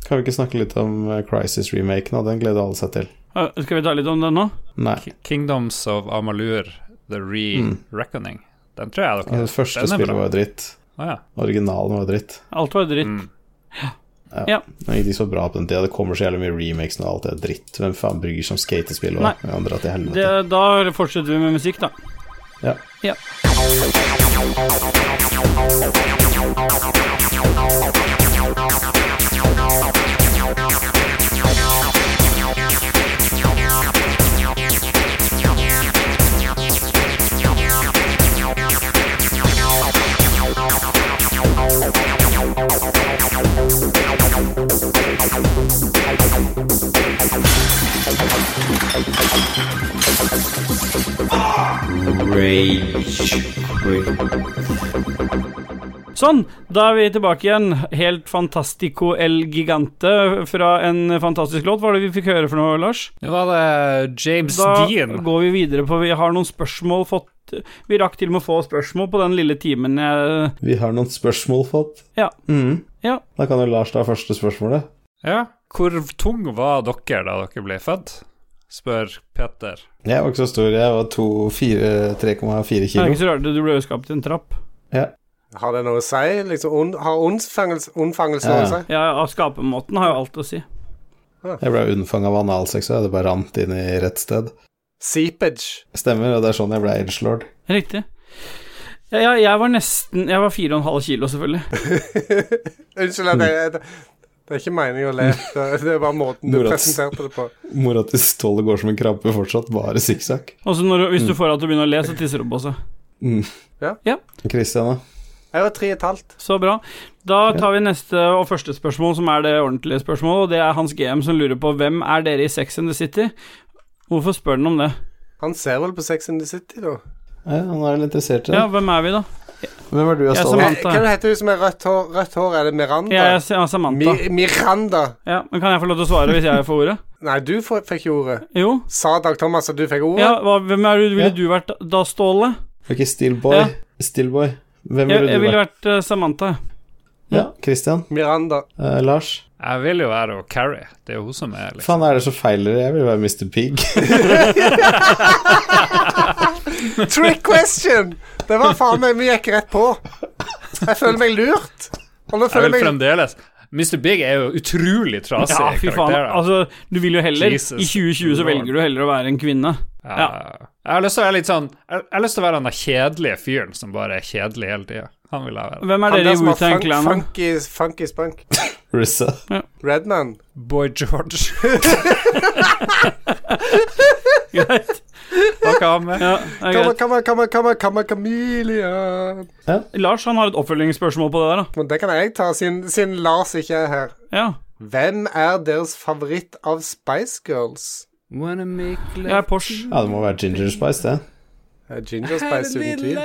Speaker 1: Kan vi ikke snakke litt om eh, Crisis-remaken? da? Den gleder alle seg til.
Speaker 3: Eh, Skal vi ta litt om den nå?
Speaker 1: Nei.
Speaker 5: Ki- Kingdoms of Amalur, The Re-Reckoning. Den tror jeg dere
Speaker 1: Det første
Speaker 5: den er
Speaker 1: spillet
Speaker 5: bra.
Speaker 1: var jo dritt.
Speaker 5: Å ja.
Speaker 1: Originalen var jo dritt.
Speaker 3: Alt var dritt.
Speaker 5: Mm.
Speaker 1: Det gikk ikke så bra på den tida. Det kommer så jævlig mye remakes og alt det er dritt. Hvem faen bryr seg om skatespill og
Speaker 3: Nei.
Speaker 1: Ja, dra til
Speaker 3: Det,
Speaker 1: helvete.
Speaker 3: da fortsetter vi med musikk, da.
Speaker 1: Ja.
Speaker 3: Ja. Sånn, da er vi tilbake igjen. Helt fantastico el gigante fra en fantastisk låt. Hva var det vi fikk høre for noe, Lars?
Speaker 5: Nå var det James
Speaker 3: Da
Speaker 5: Dean.
Speaker 3: går vi videre på Vi har noen spørsmål fått Vi rakk til og med å få spørsmål på den lille timen jeg
Speaker 1: Vi har noen spørsmål fått.
Speaker 3: Ja.
Speaker 1: Mhm.
Speaker 3: Ja.
Speaker 1: Da kan jo Lars ta første spørsmålet.
Speaker 5: Ja. Hvor tung var dere da dere ble født? Spør Peter.
Speaker 1: Jeg var ikke så stor, jeg var to- fire- 3,4
Speaker 3: Det er
Speaker 1: kilo.
Speaker 3: ikke så rart du ble skapt i en trapp.
Speaker 4: Har det noe å si? Liksom, ond- har ondfangelse, ondfangelse noe å si?
Speaker 3: Ja, av skapemåten har jo alt å si.
Speaker 1: Jeg ble unnfanget av analsex, og det bare rant inn i rett sted.
Speaker 4: Seepage.
Speaker 1: Stemmer, og det er sånn jeg ble agelord.
Speaker 3: Riktig. Ja, ja, jeg var nesten Jeg var fire og en halv kilo, selvfølgelig.
Speaker 4: Unnskyld at jeg det, det er ikke meningen å le. Det, det er bare måten du
Speaker 1: Morats.
Speaker 4: presenterte det på.
Speaker 1: Mora til Ståle går som en krabbe fortsatt, bare sikksakk.
Speaker 3: Og så når du- hvis du får at du begynner å le, så tisser du på seg.
Speaker 1: Christian, da?
Speaker 4: Jeg var tre og et halvt.
Speaker 3: Så bra. Da tar vi neste og første spørsmål, som er det ordentlige spørsmålet. Og det er Hans GM som lurer på hvem er dere i Sex and the City? Hvorfor spør han om det?
Speaker 4: Han ser vel på Sex in the City, da.
Speaker 1: Ja, han er vel interessert i det.
Speaker 3: Ja, hvem er vi, da?
Speaker 1: Hvem er du,
Speaker 3: Jeg
Speaker 1: Ståle?
Speaker 3: som
Speaker 4: Hva
Speaker 3: er- Samantha.
Speaker 4: hva heter hun som har rødt hår? Rødt hår, er det Miranda?
Speaker 3: Jeg er Sa- Samantha.
Speaker 4: Mi Miranda.
Speaker 3: Ja, men Kan jeg få lov til å svare hvis jeg får ordet?
Speaker 4: Nei, du får, fikk jo ordet.
Speaker 3: Jo.
Speaker 4: Sa Dag Thomas at du fikk ordet?
Speaker 3: Ja, hva, hvem er du,
Speaker 1: Ja.
Speaker 3: ville du vært da, Ståle?
Speaker 1: Ok, Steelboy.
Speaker 3: Ja.
Speaker 1: Steelboy. Hvem
Speaker 3: Jeg,
Speaker 1: ville
Speaker 3: jeg
Speaker 1: du
Speaker 3: ville
Speaker 1: vært?
Speaker 3: vært eh, Samantha.
Speaker 1: Ja, Christian?
Speaker 4: Miranda.
Speaker 1: Eh, Lars?
Speaker 5: Jeg vil jo være og Carrie. Det er jo hun som er liksom
Speaker 1: Faen, er det så feil dere? Jeg vil være Mr. Pig. (laughs)
Speaker 4: Trick question! Det var faen meg Vi gikk rett på. Jeg føler meg lurt. Og nå
Speaker 5: Jeg
Speaker 4: føler
Speaker 5: vil
Speaker 4: jeg meg
Speaker 5: fremdeles Mr. Big er jo utrolig trasig
Speaker 3: Ja, fy faen.
Speaker 5: karakter. da.
Speaker 3: Altså, du vil jo heller
Speaker 5: Jesus
Speaker 3: I 2020 så
Speaker 5: Lord.
Speaker 3: velger du heller å være en kvinne.
Speaker 5: ja. Jeg har lyst til å være litt sånn Jeg, jeg har lyst til å være den der kjedelige fyren som bare er kjedelig hele tida. Han vil jeg være.
Speaker 3: Hvem er
Speaker 4: han
Speaker 3: dere
Speaker 4: der
Speaker 3: i
Speaker 4: som
Speaker 3: (laughs)
Speaker 4: har
Speaker 3: Wu-Tang
Speaker 4: fun-
Speaker 3: Clan?
Speaker 4: funky, funky spunk.
Speaker 1: Russa.
Speaker 4: Redman.
Speaker 5: Boy George.
Speaker 3: Greit.
Speaker 5: Takk av med.
Speaker 3: Ja, det er
Speaker 4: Kamma,
Speaker 3: greit.
Speaker 4: kamma, kamma, kamma, kamma, kamelian.
Speaker 3: Lars han har et oppfølgingsspørsmål på det der. da
Speaker 4: Men det kan jeg ta, siden, siden Lars ikke er her.
Speaker 3: Ja,
Speaker 4: Hvem er deres favoritt av Spice Girls?
Speaker 5: Wanna make love
Speaker 3: Jeg er Porsche.
Speaker 1: Ja, det må være Ginger Spice, det.
Speaker 4: Eh, Ginger Spice uten tvil.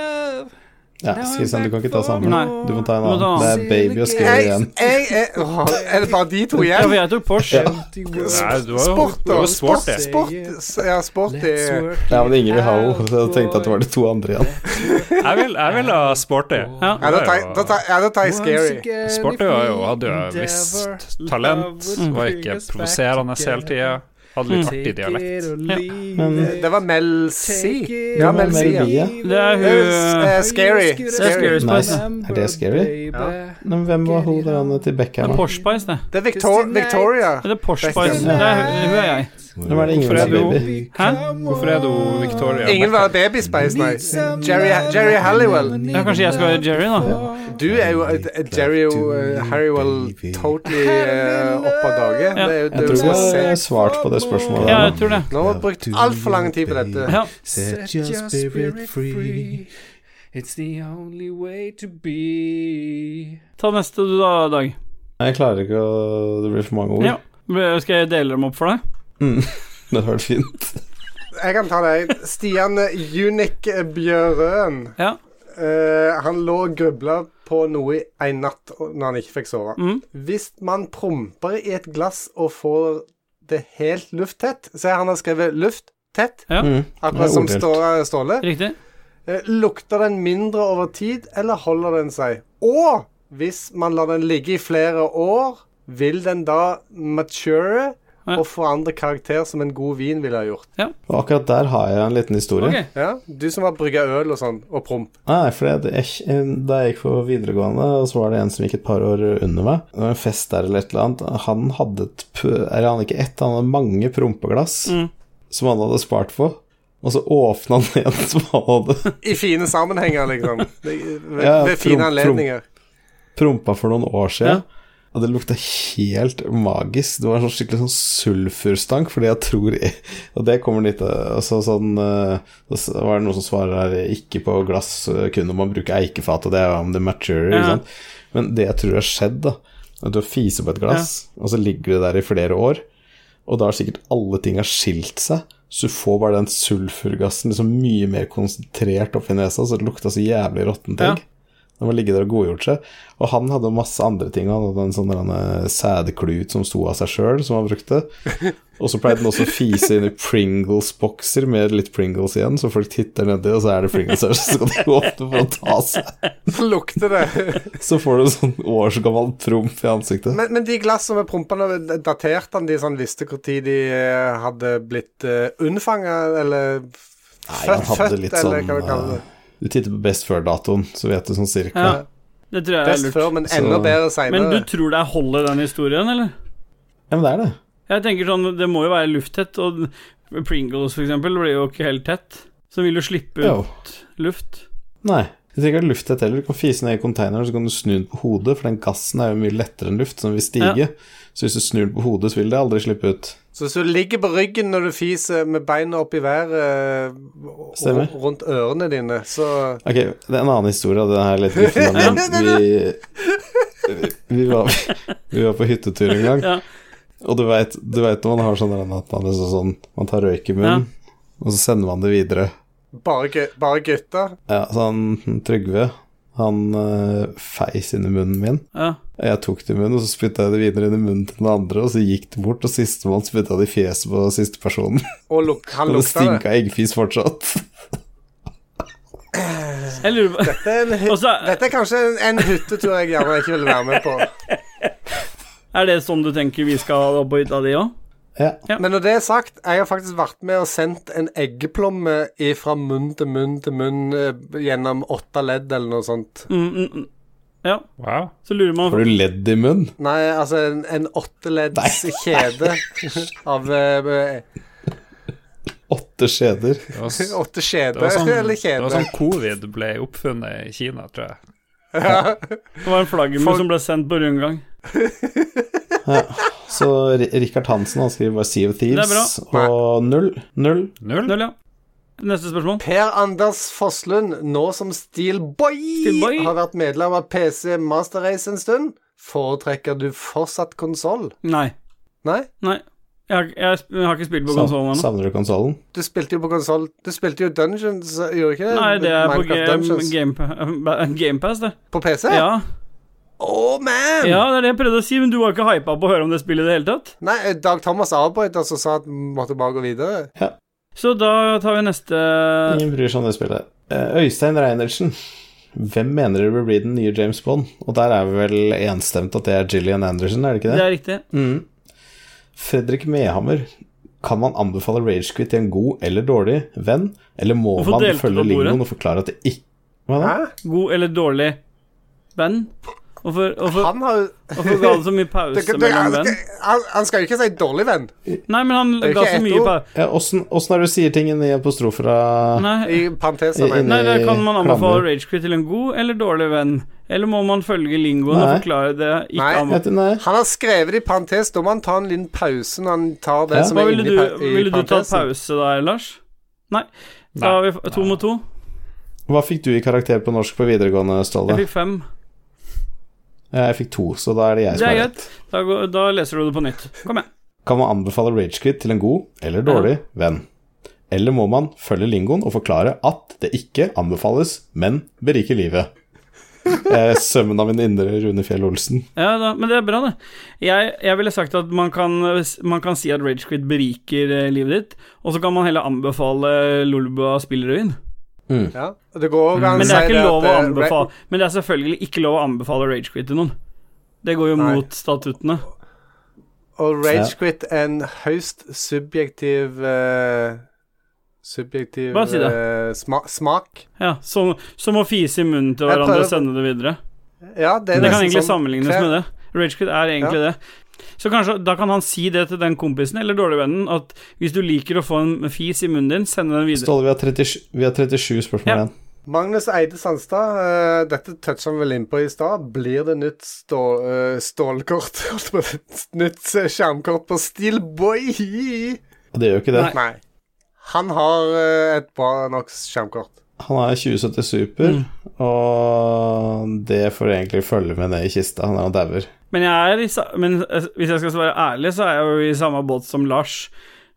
Speaker 1: Ja, skal vi se, du kan ikke ta sammen.
Speaker 3: Nei.
Speaker 1: Du må ta en
Speaker 3: Du må ta
Speaker 1: annen. Det er Baby og Scary
Speaker 4: Jeg,
Speaker 1: igjen.
Speaker 4: jeg, jeg, åh, er det bare de to
Speaker 3: Ja, for
Speaker 4: igjen?
Speaker 3: jeg tok Porsche.
Speaker 5: Nei, du har jo
Speaker 4: Sport, da.
Speaker 5: du har jo svart
Speaker 4: Sport,
Speaker 5: det.
Speaker 4: sport, ja, sporty.
Speaker 1: Ja, men ingen vil ha henne, så (laughs) jeg tenkte at det var de to andre igjen.
Speaker 5: Jeg vil, jeg vil ha sporty.
Speaker 3: Ja.
Speaker 4: Ja, da tar jeg- da tar- ja, da tar jeg Scary.
Speaker 6: Eh,
Speaker 5: Sporty var jo, hadde jo et visst talent, var ikke provoserende hele tida. Hadde litt artig dialekt.
Speaker 1: Men
Speaker 4: Det var Mel C. Ja, Mel C. Ja.
Speaker 1: Mel B, ja.
Speaker 3: Det er
Speaker 4: Det er,
Speaker 3: hun
Speaker 4: eh, Scary.
Speaker 3: Scary.
Speaker 4: Scary.
Speaker 1: Nice. Er det scary? Nei, Men hvem var hun der han til Beckham? da?
Speaker 3: Porsche Spice, det.
Speaker 4: Det er Victor Victoria.
Speaker 3: Det er Porsche
Speaker 4: Beckham.
Speaker 3: Spice. Det er, hun er jeg.
Speaker 1: Hvem er det ingen
Speaker 5: Hvorfor er
Speaker 1: som
Speaker 5: du-
Speaker 1: baby?
Speaker 3: Hæ?
Speaker 5: Hvorfor er du Victoria?
Speaker 4: Ingen var Baby Spice, nei. Jerry, Jerry Halliwell.
Speaker 3: Ja, kanskje jeg skal være Jerry, da.
Speaker 4: Du er jo eh, Jerry eh, Halliwell totally eh, opp av dage.
Speaker 3: Ja.
Speaker 4: Det er jo det
Speaker 1: Jeg
Speaker 4: er jo
Speaker 1: tror
Speaker 4: så
Speaker 1: jeg har
Speaker 4: sexy.
Speaker 1: svart på det spørsmålet
Speaker 3: Ja,
Speaker 1: der
Speaker 3: jeg
Speaker 1: nå.
Speaker 3: tror det.
Speaker 4: Nå har vi brukt altfor lang tid på dette.
Speaker 3: Ja.
Speaker 6: Set your spirit free. It's the only way to be.
Speaker 3: Ta neste du, da, Dag.
Speaker 1: Nei, Jeg klarer ikke å Det blir for mange ord.
Speaker 3: Ja. Skal jeg dele dem opp for deg?
Speaker 1: Det hadde vært fint.
Speaker 4: Jeg kan ta deg. Stian Unik Bjørøen.
Speaker 3: Ja.
Speaker 4: Eh, han lå og grubla på noe i en natt og- når han ikke fikk sove.
Speaker 3: Mm.
Speaker 4: Hvis man promper i et glass og får det helt lufttett Så han har skrevet 'lufttett',
Speaker 3: Ja.
Speaker 1: Mm.
Speaker 4: akkurat
Speaker 1: Det er
Speaker 4: som
Speaker 1: orddelt.
Speaker 4: Stå- Ståle.
Speaker 3: Riktig.
Speaker 4: Eh, Lukter den mindre over tid, eller holder den seg? Og hvis man lar den ligge i flere år, vil den da mature
Speaker 3: Ja.
Speaker 4: og forandre karakter som en god vin ville ha gjort?
Speaker 1: Og akkurat der har jeg en liten historie.
Speaker 3: Ok.
Speaker 4: Ja, Du som har brygga øl og sånn, og promp.
Speaker 1: Nei, for jeg, jeg, da jeg gikk på videregående, og så var det en som gikk et par år under meg, det var en fest der eller et eller annet, han hadde et, p- eller han hadde ikke ett, han hadde mange prompeglass som han hadde spart på, og så åpna han (laughs) en som han hadde
Speaker 4: I fine sammenhenger,
Speaker 3: (laughs)
Speaker 4: liksom. Det- Ved,
Speaker 1: Ja,
Speaker 4: ved fine
Speaker 1: promp,
Speaker 4: anledninger.
Speaker 1: prompa for noen år siden. Og det lukta helt magisk. Det var en sånn skikkelig sånn sulfurstank, fordi jeg tror Og det kommer litt eh, altså sånn eh, Så var det noen som svarer her ikke på glass eh, kunne man bruke eikefat, og det er jo om det mature, ikke
Speaker 3: Ja.
Speaker 1: sant. Men det jeg tror har skjedd, da, er at du har fiset på et glass, og så ligger det der i flere år, og da har sikkert alle ting har skilt seg. Så du får bare den sulfurgassen liksom mye mer konsentrert oppi nesa, så det lukta så jævlig råttent.
Speaker 3: Ja.
Speaker 1: tenk. Han var ligget der og godgjort seg. Og han hadde masse andre ting. Han hadde en sånn der, eh, sædklut som sto av seg sjøl, som han
Speaker 4: (laughs)
Speaker 1: brukte. Og så pleide han også å fise inn i Pringles-bokser med litt Pringles igjen, så folk titter nedi, og så er det Pringles her, så skal de åpne for å ta seg.
Speaker 4: Lukter det.
Speaker 1: Så får du en sånn årsgammel trumf i ansiktet.
Speaker 4: (laughs) Men, men de glass som er prompa nå, daterte han de sånn visste hvor tid de eh, hadde blitt uh, unnfanga, eller
Speaker 1: Nei, han
Speaker 4: født,
Speaker 1: hadde
Speaker 4: født,
Speaker 1: litt
Speaker 4: eller hva du
Speaker 1: sånn
Speaker 4: kaller det.
Speaker 1: eh, Du titter på best før-datoen, så vet du sånn cirka.
Speaker 3: Ja. Det tror jeg er
Speaker 4: Best
Speaker 3: lurt.
Speaker 4: før, men enda
Speaker 1: Så-
Speaker 4: bedre seinere.
Speaker 3: Men du tror det er hold i den historien, eller?
Speaker 1: Ja, men det er det.
Speaker 3: Jeg tenker sånn, det må jo være lufttett, og Pringles for eksempel blir jo ikke helt tett. Så vil du slippe
Speaker 1: Jo.
Speaker 3: ut luft.
Speaker 1: Nei. Du trenger ikke ha lufttett heller. Du kan fise ned i containeren, så kan du snu den på hodet, for den gassen er jo mye lettere enn luft, som vil stige. Så hvis du snur den på hodet, så vil det aldri slippe ut.
Speaker 4: Så hvis du ligger på ryggen når du fiser med beina opp i været og
Speaker 1: Stemmer.
Speaker 4: og rundt ørene dine, så
Speaker 1: Ok, det er en annen historie, og den her er litt viktig, men vi, vi, var, vi var på hyttetur en gang,
Speaker 3: Ja.
Speaker 1: og du veit du vet når man har sånn at man, liksom sånn, man tar røyk i munnen, og så sender man det videre.
Speaker 4: bare, gu- bare gutter.
Speaker 1: Ja, så han Trygve, han eh, feis inn i munnen min.
Speaker 3: Ja.
Speaker 1: Og Jeg tok det i munnen, og så spytta jeg det videre inn i munnen til den andre, og så gikk det bort, og sistemann spytta det i fjeset på siste personen.
Speaker 4: Og luk, han
Speaker 1: Og det
Speaker 4: lukta det.
Speaker 1: stinka eggfis fortsatt. (laughs)
Speaker 3: Jeg lurer på (laughs)
Speaker 4: Det er en hy-
Speaker 3: Og så-
Speaker 4: Dette er kanskje en, en hyttetur jeg gjerne ikke ville være med på.
Speaker 3: Er det sånn du tenker vi skal ha det på hytta di òg?
Speaker 1: Ja.
Speaker 4: Men når det er sagt, jeg har faktisk vært med og sendt en eggeplomme fra munn til munn til munn eh, gjennom åtte ledd eller noe sånt.
Speaker 3: Mm, mm, mm. Ja,
Speaker 5: Wow.
Speaker 3: så lurer man
Speaker 1: Har du ledd i munnen?
Speaker 4: Nei, altså en, en åtteledds (laughs) kjede (laughs) av eh,
Speaker 1: Åtte skjeder.
Speaker 5: Det var, s-
Speaker 4: Åtte
Speaker 5: det var
Speaker 4: skjeder,
Speaker 5: sånn,
Speaker 4: eller
Speaker 5: det var
Speaker 4: kjede.
Speaker 5: sånn covid ble oppfunnet i Kina, tror jeg.
Speaker 3: Det var en flaggermus
Speaker 4: Folk-
Speaker 3: som ble sendt på rundgang.
Speaker 1: Så Ri- Rikard Hansen han skriver bare Sea of Thieves
Speaker 4: Det er bra.
Speaker 1: og null. Null.
Speaker 5: Null?
Speaker 3: Null, ja. Neste spørsmål.
Speaker 4: Per Anders Fosslund, nå som Steelboy,
Speaker 3: Steelboy.
Speaker 4: har vært medlem av PC Master Race en stund. Foretrekker du fortsatt konsoll?
Speaker 3: Nei.
Speaker 4: Nei?
Speaker 3: Nei. Jeg, har- jeg, sp- jeg har ikke spilt på konsollen ennå.
Speaker 1: Savner du konsollen?
Speaker 4: Du spilte jo på konsoll Du spilte jo Dungeons, gjorde du ikke det?
Speaker 3: Nei, det er på
Speaker 4: Minecraft
Speaker 3: Gamepass,
Speaker 4: Dungeons.
Speaker 3: game, Ba- (laughs) Game Pass, det.
Speaker 4: På PC?
Speaker 3: Ja.
Speaker 4: Oh, man!
Speaker 3: ja, det er det jeg prøvde å si, men du var ikke hypa på å høre om det spillet i det hele tatt.
Speaker 4: Nei, eh, Dag Thomas avbrøt oss og sa at vi måtte bare gå videre.
Speaker 3: Så da tar vi neste
Speaker 1: Ingen bryr seg om det spillet. Eh, Øystein Reinertsen. Hvem mener dere bør bli den nye James Bond? Og der er vi vel enstemt at det er Gillian Anderson, er det ikke
Speaker 3: Det
Speaker 1: det?
Speaker 3: er riktig.
Speaker 1: Mm. Fredrik Mehammer. Kan man anbefale Ragequit til en god eller dårlig venn, eller må
Speaker 3: Hvorfor
Speaker 1: man
Speaker 3: delte du
Speaker 1: følge
Speaker 3: på bordet?
Speaker 1: lingoen og forklare at det ikke Hva da?
Speaker 3: God eller dårlig venn? Hvorfor, hvorfor,
Speaker 4: Han har jo
Speaker 3: hvorfor ga du så mye
Speaker 4: (laughs) Det-
Speaker 3: pause
Speaker 4: det-
Speaker 3: mellom
Speaker 4: han,
Speaker 3: venn?
Speaker 4: han, han skal jo ikke si dårlig venn.
Speaker 3: Nei, men han
Speaker 4: Det er
Speaker 3: ga
Speaker 4: ikke
Speaker 3: så
Speaker 4: ett
Speaker 3: mye
Speaker 4: ord.
Speaker 3: pause.
Speaker 1: Ja, Åssen åssen er det du sier ting i apostrofer av
Speaker 4: I
Speaker 3: Nei,
Speaker 4: parenteser,
Speaker 1: I-
Speaker 4: men
Speaker 1: inni-
Speaker 3: nei, da kan man
Speaker 1: klammer.
Speaker 3: anbefale Ragequit til en god eller dårlig venn? Eller må man følge lingoen og
Speaker 1: Nei.
Speaker 3: forklare det? Ikke
Speaker 4: Nei.
Speaker 3: anbefale.
Speaker 1: Vet du, nei.
Speaker 4: Han har skrevet det i parentes. Da må han ta en liten pause når han tar det
Speaker 1: Ja.
Speaker 4: som
Speaker 3: Hva
Speaker 4: er
Speaker 3: ville
Speaker 4: inni
Speaker 3: du,
Speaker 4: pa- i
Speaker 3: ville du tatt
Speaker 4: parentesen.
Speaker 3: pause der, Lars? Nei. Da har vi f- to mot to.
Speaker 1: Hva fikk du i karakter på norsk på videregående, Ståle?
Speaker 3: Jeg fikk fem.
Speaker 1: Ja, jeg fikk to, så da er det jeg
Speaker 3: Det
Speaker 1: som
Speaker 3: er
Speaker 1: har rett.
Speaker 3: greit. Da, går, da leser du det på nytt. Kom igjen.
Speaker 1: Kan man anbefale Ragequit til en god eller dårlig venn? Eller må man følge lingoen og forklare at det ikke anbefales, men beriker livet? Eh, Sømmen av min indre Rune Fjell Olsen.
Speaker 3: Ja, da, men det er bra, det. Jeg, jeg ville sagt at man kan, man kan si at Ragequid beriker eh, livet ditt, og så kan man heller anbefale eh, Lolbua spillrevyen.
Speaker 4: Ja. og Det går også
Speaker 3: Mm. Men
Speaker 4: an
Speaker 3: det er
Speaker 4: si
Speaker 3: ikke lov å
Speaker 4: at, eh,
Speaker 3: anbefale Men det er selvfølgelig ikke lov å anbefale Ragequid til noen. Det går jo
Speaker 4: Nei.
Speaker 3: mot statuttene.
Speaker 4: Ra og ragequit er en høyst subjektiv eh, Subjektiv
Speaker 3: Bare si det.
Speaker 4: eh, sma smak.
Speaker 3: Ja, som, som å fise i munnen til
Speaker 4: Jeg
Speaker 3: hverandre
Speaker 4: prøver-
Speaker 3: og sende det videre.
Speaker 4: Ja, det er
Speaker 3: Det
Speaker 4: nesten
Speaker 3: kan egentlig
Speaker 4: sånn-
Speaker 3: sammenlignes med det. Ragequit er egentlig det. Så kanskje da kan han si det til den kompisen eller dårlige vennen, at hvis du liker å få en fis i munnen din, send den videre.
Speaker 1: Ståle, vi har 37, vi har 37 spørsmål
Speaker 3: Ja.
Speaker 1: igjen.
Speaker 4: Magnus Eide Sandstad, eh, dette toucha vi vel innpå i stad. Blir det nytt stå, eh, stålkort? (laughs) holdt på å si. nytt eh, skjermkort på Steelboy?
Speaker 1: Og det gjør jo ikke det.
Speaker 4: Nei. Han har eh, et bra nok skjermkort.
Speaker 1: Han er 2070 Super, og det får egentlig følge med ned i kista. Han er jo dauer.
Speaker 3: Men, jeg er i, sa- men eh, hvis jeg skal være ærlig, så er jeg jo i samme båt som Lars.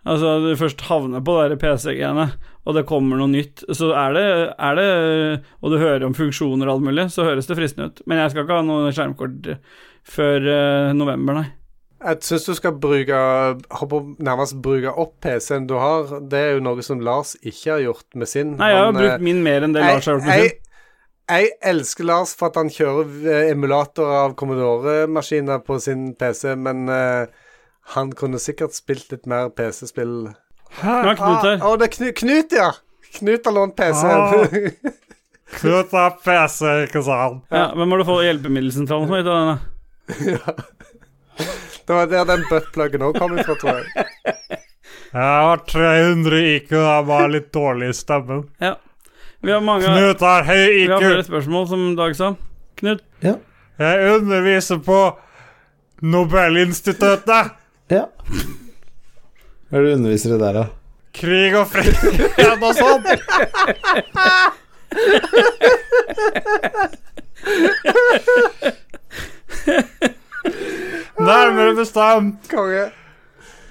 Speaker 3: Altså, du først havner på det der PC-greiene, og det kommer noe nytt, så er det, er det Og du hører om funksjoner og alt mulig, så høres det fristende ut. Men jeg skal ikke ha noe skjermkort før eh, november, nei.
Speaker 4: Jeg syns du skal bruke håper, å nærmest bruke opp PC-en du har. Det er jo noe som Lars ikke har gjort med sin.
Speaker 3: Nei, jeg har
Speaker 4: Han,
Speaker 3: jo
Speaker 4: eh,
Speaker 3: brukt min mer enn det Lars har gjort med
Speaker 4: jeg,
Speaker 3: sin.
Speaker 4: jeg elsker Lars for at han kjører eh, emulator av Commodore-maskiner på sin PC, men eh, han kunne sikkert spilt litt mer PC-spill.
Speaker 3: Nå er Knut her.
Speaker 4: Å, det er Knu Knut, ja! Knut har lånt
Speaker 3: Ah.
Speaker 4: PC-en.
Speaker 5: Knut har PC, ikke sant?
Speaker 3: Ja, Hvem har du fått hjelpemiddelsentralen for? Da?
Speaker 4: (laughs) det var der den buttpluggen òg kom ifra,
Speaker 3: (laughs)
Speaker 4: tror jeg.
Speaker 5: Jeg har 300 IQ, jeg er bare litt dårlig i stemmen. (laughs)
Speaker 3: Ja. Vi har mange
Speaker 5: Knut har høy
Speaker 3: Vi har flere
Speaker 5: IQ.
Speaker 3: spørsmål, som Dag sa. Knut,
Speaker 5: Jeg underviser på Nobelinstituttet.
Speaker 1: Ja. Hva er det du underviser i der, da?
Speaker 5: Krig og fred (laughs) og sånn. Nærmere bestemt
Speaker 4: Konge.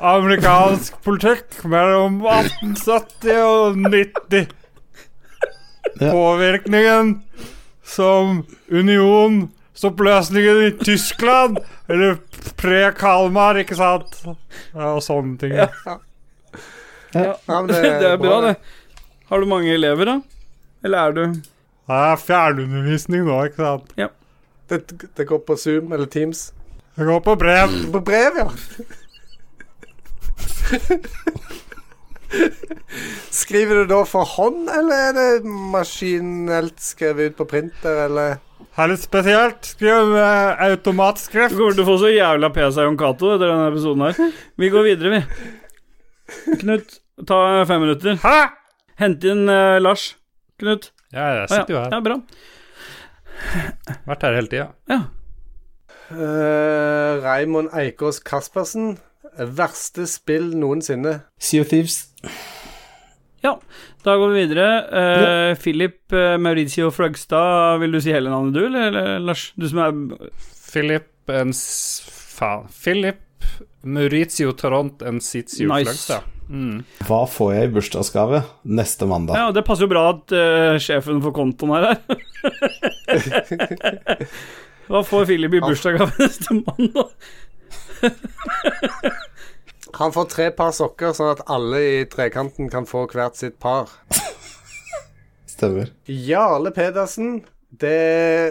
Speaker 5: amerikansk politikk mellom 1870 og 90.
Speaker 1: Ja.
Speaker 5: Påvirkningen som unionsoppløsningen i Tyskland Eller pre-Kalmar, ikke sant? Ja, og sånne ting.
Speaker 4: Ja,
Speaker 3: (laughs)
Speaker 4: men
Speaker 3: det, er bra, det. Har du mange elever, da? Eller er du
Speaker 5: Det er fjernundervisning nå, ikke sant?
Speaker 4: det. Det går på Zoom eller Teams.
Speaker 5: Det går på brev.
Speaker 4: På brev, ja. Skriver du da for hånd, eller er det maskinelt skrevet ut på printer, eller
Speaker 5: Det er litt spesielt. Skriv med
Speaker 3: Du
Speaker 5: automatskrift.
Speaker 3: kommer til å få så jævla pes av Jon Cato etter denne episoden her. Vi går videre, vi. Knut, ta fem minutter.
Speaker 5: Hæ?
Speaker 3: Hent inn eh, Lars. Knut.
Speaker 5: Ja, jeg
Speaker 3: Å, ja. ja, bra.
Speaker 5: Vært her hele tida.
Speaker 3: Ja.
Speaker 4: Uh, Raymond Eikås Kaspersen. Verste spill noensinne.
Speaker 1: Sea of Thieves.
Speaker 3: ja. Da går vi videre. Eh, Philip eh, Mauricio Fløgstad, vil du si hele navnet, du, eller, eller Lars? Du som er
Speaker 5: Philip en s- Faen. Philip Maurizio Tarant en Sitio
Speaker 3: Nice.
Speaker 5: Fløgstad. Mm.
Speaker 1: Hva får jeg i bursdagsgave neste mandag?
Speaker 3: Ja, det passer jo bra at eh, sjefen for kontoen her er her. Hva får Philip i bursdagsgave neste mandag?
Speaker 4: Han får tre par sokker, sånn at alle i trekanten kan få hvert sitt par.
Speaker 1: Stemmer.
Speaker 4: Jarle Pedersen. Det,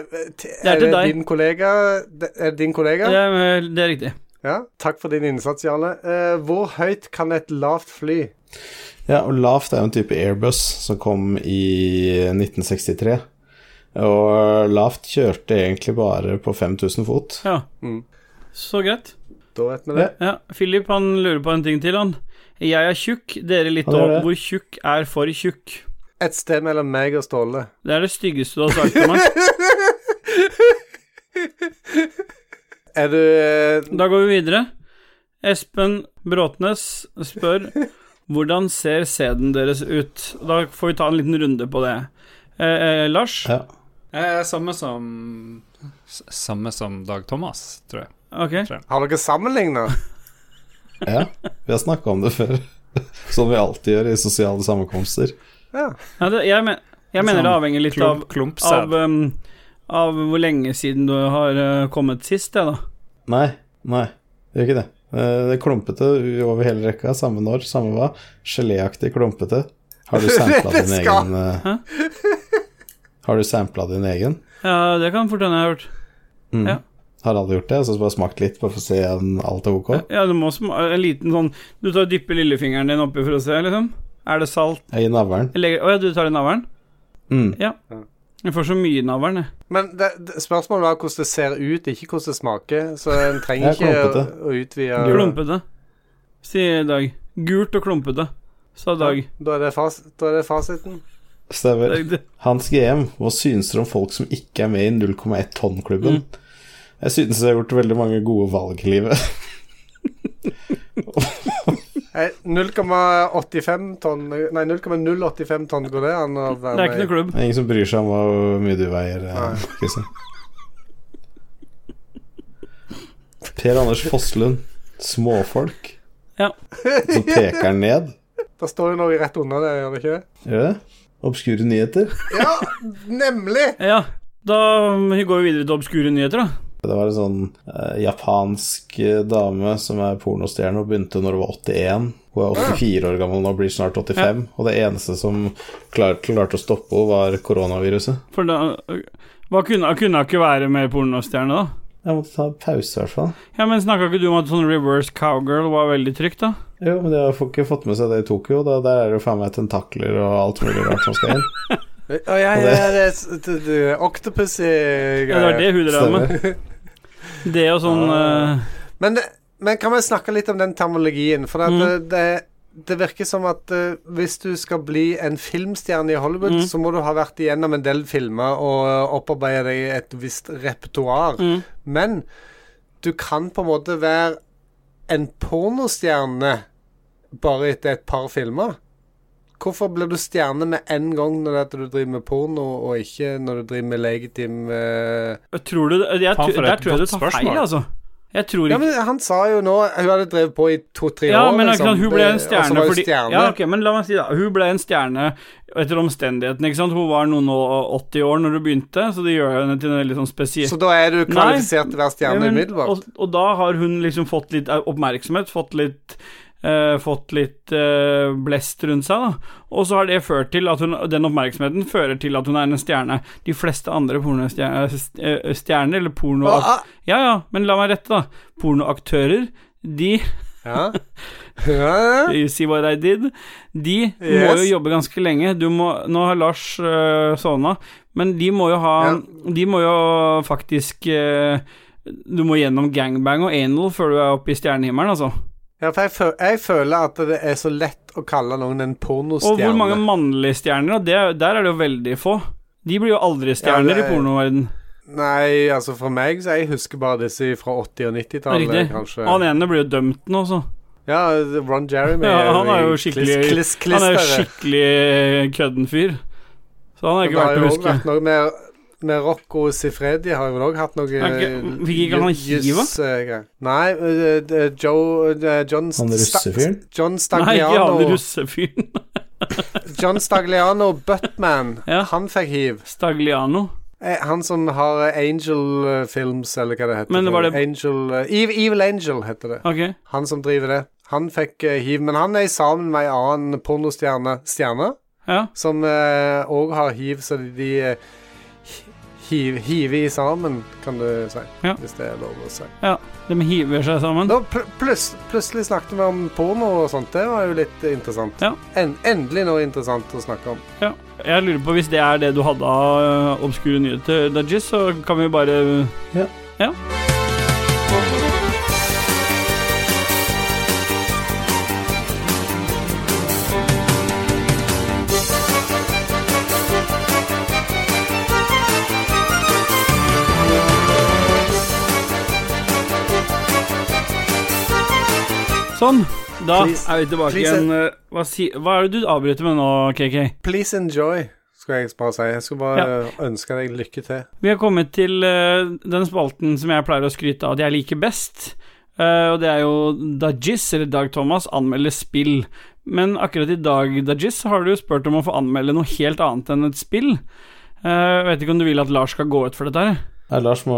Speaker 4: det eh,
Speaker 3: er til
Speaker 4: det
Speaker 3: deg.
Speaker 4: Din kollega, det, er det din kollega?
Speaker 3: Det, er- eh, det er riktig.
Speaker 4: Ja. Takk for din innsats, Jarle. Eh, hvor høyt kan et lavt fly?
Speaker 1: Ja, og lavt er jo en type airbus som kom i 1963. Og lavt kjørte egentlig bare på 5000 fot.
Speaker 3: Ja.
Speaker 4: Mm.
Speaker 3: Så greit.
Speaker 4: Da vet vi det.
Speaker 3: Ja, Philip han lurer på en ting til, han. Jeg er tjukk, dere litt
Speaker 1: Han er
Speaker 3: òg.
Speaker 1: det.
Speaker 3: Hvor tjukk er for tjukk?
Speaker 4: Et sted mellom meg og Ståle.
Speaker 3: Det er det styggeste du har sagt til meg.
Speaker 4: Er du eh,
Speaker 3: Da går vi videre. Espen Bråtnes spør hvordan ser sæden deres ut? Da får vi ta en liten runde på det. Eh, eh, Lars?
Speaker 1: Ja.
Speaker 5: Eh, samme som s- Samme som Dag Thomas, tror jeg.
Speaker 3: Ok.
Speaker 4: Har dere sammenligna?
Speaker 1: ja. Vi har snakka om det før. (laughs) Som vi alltid gjør i sosiale sammenkomster.
Speaker 4: Ja.
Speaker 3: Ja, det, jeg, men, jeg mener det avhenger litt av,
Speaker 5: Sånn Klump, klumpsæd.
Speaker 3: av, um, av hvor lenge siden du har eh, kommet sist, jeg, da.
Speaker 1: Nei, nei, det gjør ikke det. Eh, Det er klumpete over hele rekka, samme når, samme hva. Geléaktig klumpete. Har
Speaker 4: (laughs)
Speaker 1: du sampla
Speaker 4: Det
Speaker 1: din
Speaker 4: skal-
Speaker 1: egen eh, Har du sampla din egen?
Speaker 3: Ja, det kan fort hende jeg har hørt.
Speaker 1: Har alle gjort det? Så bare smakt litt, bare for å se om alt er ok?
Speaker 3: Ja, du må sm- en liten sånn Du tar dypper lillefingeren din oppi for å se, liksom. Er det salt?
Speaker 1: I navlen.
Speaker 3: Jeg legger- Å ja, du tar det i navlen?
Speaker 1: Mm.
Speaker 3: Jeg får så mye i navlen, jeg.
Speaker 4: Men det, det, spørsmålet var hvordan det ser ut, ikke hvordan det smaker. Så en trenger
Speaker 1: Det er
Speaker 4: ikke å,
Speaker 1: klumpete.
Speaker 4: å utvide
Speaker 3: Klumpete, sier Dag. Gult og klumpete, sa Dag.
Speaker 4: Da er det, fas, da er det fasiten.
Speaker 1: Stemmer.
Speaker 3: Dag, det-
Speaker 1: Hans GM, hva synes dere om folk som ikke er med i 0,1 tonn-klubben? Jeg synes jeg har gjort veldig mange gode valg i livet.
Speaker 4: Eh, 0,85 tonn Nei, 0,085 tonn går det an å
Speaker 3: Det er
Speaker 4: være
Speaker 3: ikke noe klubb.
Speaker 1: Det er ingen som bryr seg om hvor mye du veier, eh,
Speaker 4: Nei.
Speaker 1: Kristian. Per Anders Fosslund, småfolk.
Speaker 3: Ja.
Speaker 1: Så peker han ned.
Speaker 4: Det står jo noe rett under det, gjør det ikke? det?
Speaker 1: Gjør det? Obskure nyheter.
Speaker 4: Ja,
Speaker 3: (laughs)
Speaker 4: nemlig!
Speaker 3: ja. Da går vi videre til obskure nyheter, da.
Speaker 1: Det var en sånn eh, japansk eh, dame som er pornostjerne og begynte når hun var 81. Hun er 84 år gammel nå, blir snart 85. Og det eneste som klar, klarte å stoppe henne, var koronaviruset.
Speaker 3: For da hva kunne, kunne hun ikke være mer pornostjerne, da?
Speaker 1: Jeg måtte ta en pause, i hvert fall.
Speaker 3: Ja, men Snakka ikke du om at sånn reverse cowgirl var veldig trygt, da?
Speaker 1: Jo, men de har jo ikke fått med seg det i Tokyo. Da, der er det jo faen meg tentakler og alt mulig rart som skal inn.
Speaker 4: Å, ja, ja, ja, det er eh, s- det- det- octopus i
Speaker 3: Ja, det var det hun drev med.
Speaker 1: Stemmer.
Speaker 3: Det og sånn
Speaker 4: Ah.
Speaker 3: eh,
Speaker 4: Men, det- men kan vi snakke litt om den termologien? For at
Speaker 3: Mm.
Speaker 4: det, det, det virker som at eh, hvis du skal bli en filmstjerne i Hollywood,
Speaker 3: Mm.
Speaker 4: så må du ha vært igjennom en del filmer og eh, opparbeide deg et visst repertoar.
Speaker 3: mm.
Speaker 4: Men du kan på en måte være en pornostjerne bare etter et par filmer. Hvorfor blir du stjerne med en gang når det er at du driver med porno, og ikke når du driver med legitim eh,
Speaker 3: Tror du det? Jeg,
Speaker 5: Faen, for
Speaker 3: tror- der
Speaker 5: et
Speaker 3: tror jeg du
Speaker 5: godt
Speaker 3: tar
Speaker 5: spørsmål.
Speaker 3: feil, altså. Jeg tror
Speaker 4: Ja,
Speaker 3: ikke
Speaker 4: men Han sa jo nå Hun hadde drevet på i to-tre
Speaker 3: ja,
Speaker 4: år. liksom.
Speaker 3: men ikke sant, hun ble en
Speaker 4: Det- og så
Speaker 3: stjerne
Speaker 4: var hun
Speaker 3: fordi
Speaker 4: stjerne.
Speaker 3: Ja, ok, men la meg si da Hun ble en stjerne etter omstendighetene, ikke sant. Hun var noen og 80 år når hun begynte, så det gjør henne til en litt sånn spesiell
Speaker 4: Så da er du kvalifisert til å
Speaker 3: Ja,
Speaker 4: være stjerne
Speaker 3: men-
Speaker 4: umiddelbart?
Speaker 3: Og, og da har hun liksom fått litt eh, oppmerksomhet, fått litt eh, fått litt eh, blest rundt seg, da. Og så har det ført til at hun den oppmerksomheten fører til at hun er en stjerne. De fleste andre pornostjerner, eh, stjerner, eller porno...
Speaker 4: Ah, ah.
Speaker 3: Ja, ja, men la meg rette, da. Pornoaktører, de (laughs)
Speaker 4: Ja. Ja.
Speaker 3: You see what I did? De må
Speaker 4: Yes.
Speaker 3: jo jobbe ganske lenge. Du må, nå har Lars øh, sovna, men de må jo ha De må jo faktisk øh, Du må gjennom gangbang og anal før du er oppe i stjernehimmelen, altså.
Speaker 4: ja, for jeg, føl jeg føler at det er så lett å kalle noen en
Speaker 3: Og hvor mange
Speaker 4: pornostjerne.
Speaker 3: mannlige stjerner, og det, der er det jo veldig få. De blir jo aldri stjerner
Speaker 4: Ja, det er-
Speaker 3: i pornoverden
Speaker 4: Nei, altså for meg så jeg husker bare disse fra 80- og 90-tallet,
Speaker 3: Riktig.
Speaker 4: kanskje.
Speaker 3: Og han ene blir jo dømt nå, så.
Speaker 4: Ja, Ron Jeremy
Speaker 3: Ja,
Speaker 4: er
Speaker 3: han er jo
Speaker 4: i
Speaker 3: skikkelig-
Speaker 4: kliss, kliss,
Speaker 3: Han er jo
Speaker 4: klisteret.
Speaker 3: skikkelig eh, kødden fyr. Så han har
Speaker 4: Det
Speaker 3: ikke
Speaker 4: har
Speaker 3: vært
Speaker 4: jo
Speaker 3: å
Speaker 4: også
Speaker 3: huske.
Speaker 4: vært noe med, med Rocco Sifredi har jo også hatt noe eh,
Speaker 3: Er ikke- fikk ikke han
Speaker 4: jus-
Speaker 3: hiva?
Speaker 4: eh, Nei, eh, eh, Joe eh, John
Speaker 1: Han
Speaker 4: Sta-
Speaker 1: russefyren?
Speaker 4: John
Speaker 3: Nei, ikke han
Speaker 4: Stagliano,
Speaker 3: russefyren.
Speaker 4: John Stagliano Buttman,
Speaker 3: (laughs) Ja.
Speaker 4: han fikk hiv.
Speaker 3: Stagliano.
Speaker 4: Eh, Han som har eh, Angel eh, Films, eller hva det heter.
Speaker 3: Men
Speaker 4: for
Speaker 3: var
Speaker 4: noe.
Speaker 3: det-
Speaker 4: Angel, eh, Evil, Evil Angel heter det.
Speaker 3: Ok.
Speaker 4: Han som driver det. Han fikk eh, hiv, men han er sammen med ei annen pornostjerne stjerne,
Speaker 3: Ja.
Speaker 4: som òg har hiv, så de eh, hiv, hiver i sammen, kan du si.
Speaker 3: Ja.
Speaker 4: Hvis det er lov å si.
Speaker 3: ja. De hiver seg sammen.
Speaker 4: Da pl pluss, plutselig snakket vi om porno og sånt. Det var jo litt eh, interessant.
Speaker 3: Ja.
Speaker 4: En endelig noe interessant å snakke om.
Speaker 3: Ja. Jeg lurer på hvis det er det du hadde av øh, obskure nyheter, Dajis, så kan vi bare
Speaker 1: Ja.
Speaker 3: ja. Sånn. Da
Speaker 4: Please.
Speaker 3: er vi tilbake
Speaker 4: Please,
Speaker 3: igjen. øh, Hva, si, hva er det du avbryter med nå, KK?
Speaker 4: Please enjoy, skulle jeg bare si. Jeg skulle bare ønske deg lykke til.
Speaker 3: Vi har kommet til eh, den spalten som jeg pleier å skryte av at jeg liker best. Eh, og det er jo Dajis, eller Dag Thomas, anmelder spill. Men akkurat i dag, Dajis, har du spurt om å få anmelde noe helt annet enn et spill. Eh, Jeg vet ikke om du vil at Lars skal gå ut for dette her?
Speaker 1: Nei, Lars må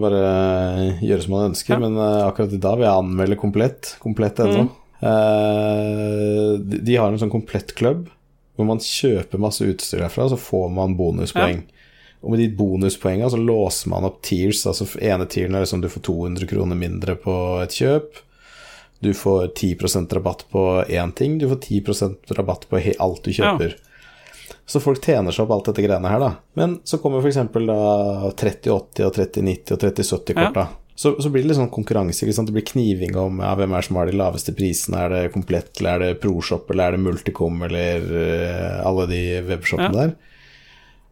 Speaker 1: bare gjøre som han ønsker,
Speaker 3: Ja. Mm.
Speaker 1: men eh, akkurat i dag vil jeg anmelde komplett. Komplett ennå. Eh, de- de har en sånn komplett-klubb hvor man kjøper masse utstyr derfra, så får man bonuspoeng. Og med de bonuspoengene så låser man opp tiers. Altså ene tieren er liksom du får 200 kroner mindre på et kjøp. Du får 10 rabatt på én ting. Du får 10 rabatt på he alt du
Speaker 3: Ja.
Speaker 1: kjøper. Så folk tjener seg opp alt dette greiene her, da. Men så kommer f.eks. da 3080 og 3090 og 3070-korta. Så, så blir det litt sånn konkurranse. Ikke sant? Det blir kniving om ja, hvem er det som har de laveste prisene. Er det Komplett, eller er det ProShop, eller er det Multicom, eller eh, alle de webshopene der.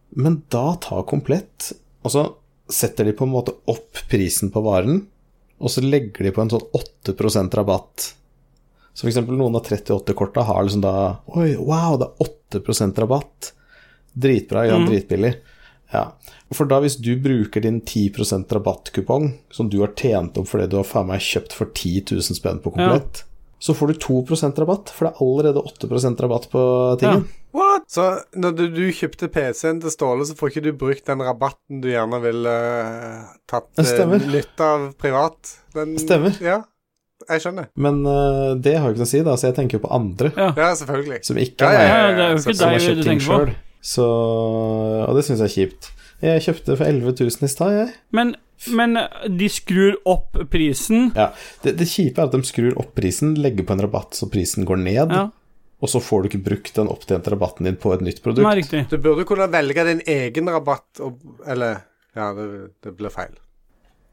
Speaker 1: Men da tar Komplett Og så setter de på en måte opp prisen på varen, og så legger de på en sånn 8 rabatt. Så f.eks. noen av 38-korta har liksom da Oi, wow, det er 8 rabatt. Dritbra, ja, dritbillig. Ja. For da, hvis du bruker din 10 rabattkupong, som du har tjent opp fordi du har faen meg kjøpt for 10 000 spenn på komplett, så får du 2 rabatt, for det er allerede 8 rabatt på tingen.
Speaker 4: What? Så når du, du kjøpte PC-en til Ståle, så får ikke du brukt den rabatten du gjerne ville eh, tatt
Speaker 1: Det
Speaker 4: eh,
Speaker 1: stemmer.
Speaker 4: nytte av privat. Den,
Speaker 1: Stemmer.
Speaker 4: Ja, jeg skjønner.
Speaker 1: Men eh, det har jo ikke noe å si, da, så jeg tenker jo på andre
Speaker 3: Ja.
Speaker 4: Ja, selvfølgelig.
Speaker 1: som ikke
Speaker 4: Ja, ja,
Speaker 1: er
Speaker 3: Ja, det er jo
Speaker 4: så-
Speaker 3: ikke
Speaker 4: så
Speaker 1: som har
Speaker 3: deg
Speaker 1: kjøpt
Speaker 3: du
Speaker 1: ting
Speaker 3: tenker på.
Speaker 1: sjøl. Så Og det syns jeg er kjipt. Jeg kjøpte for 11 000 i stad, jeg.
Speaker 3: Men, men de skrur opp prisen.
Speaker 1: Ja. Det, det kjipe er at de skrur opp prisen, legger på en rabatt så prisen går ned,
Speaker 3: Ja,
Speaker 1: og så får du ikke brukt den opptjente rabatten din på et nytt produkt.
Speaker 3: Nei, riktig.
Speaker 4: Du burde kunne velge din egen rabatt og Eller Ja, det, det blir feil.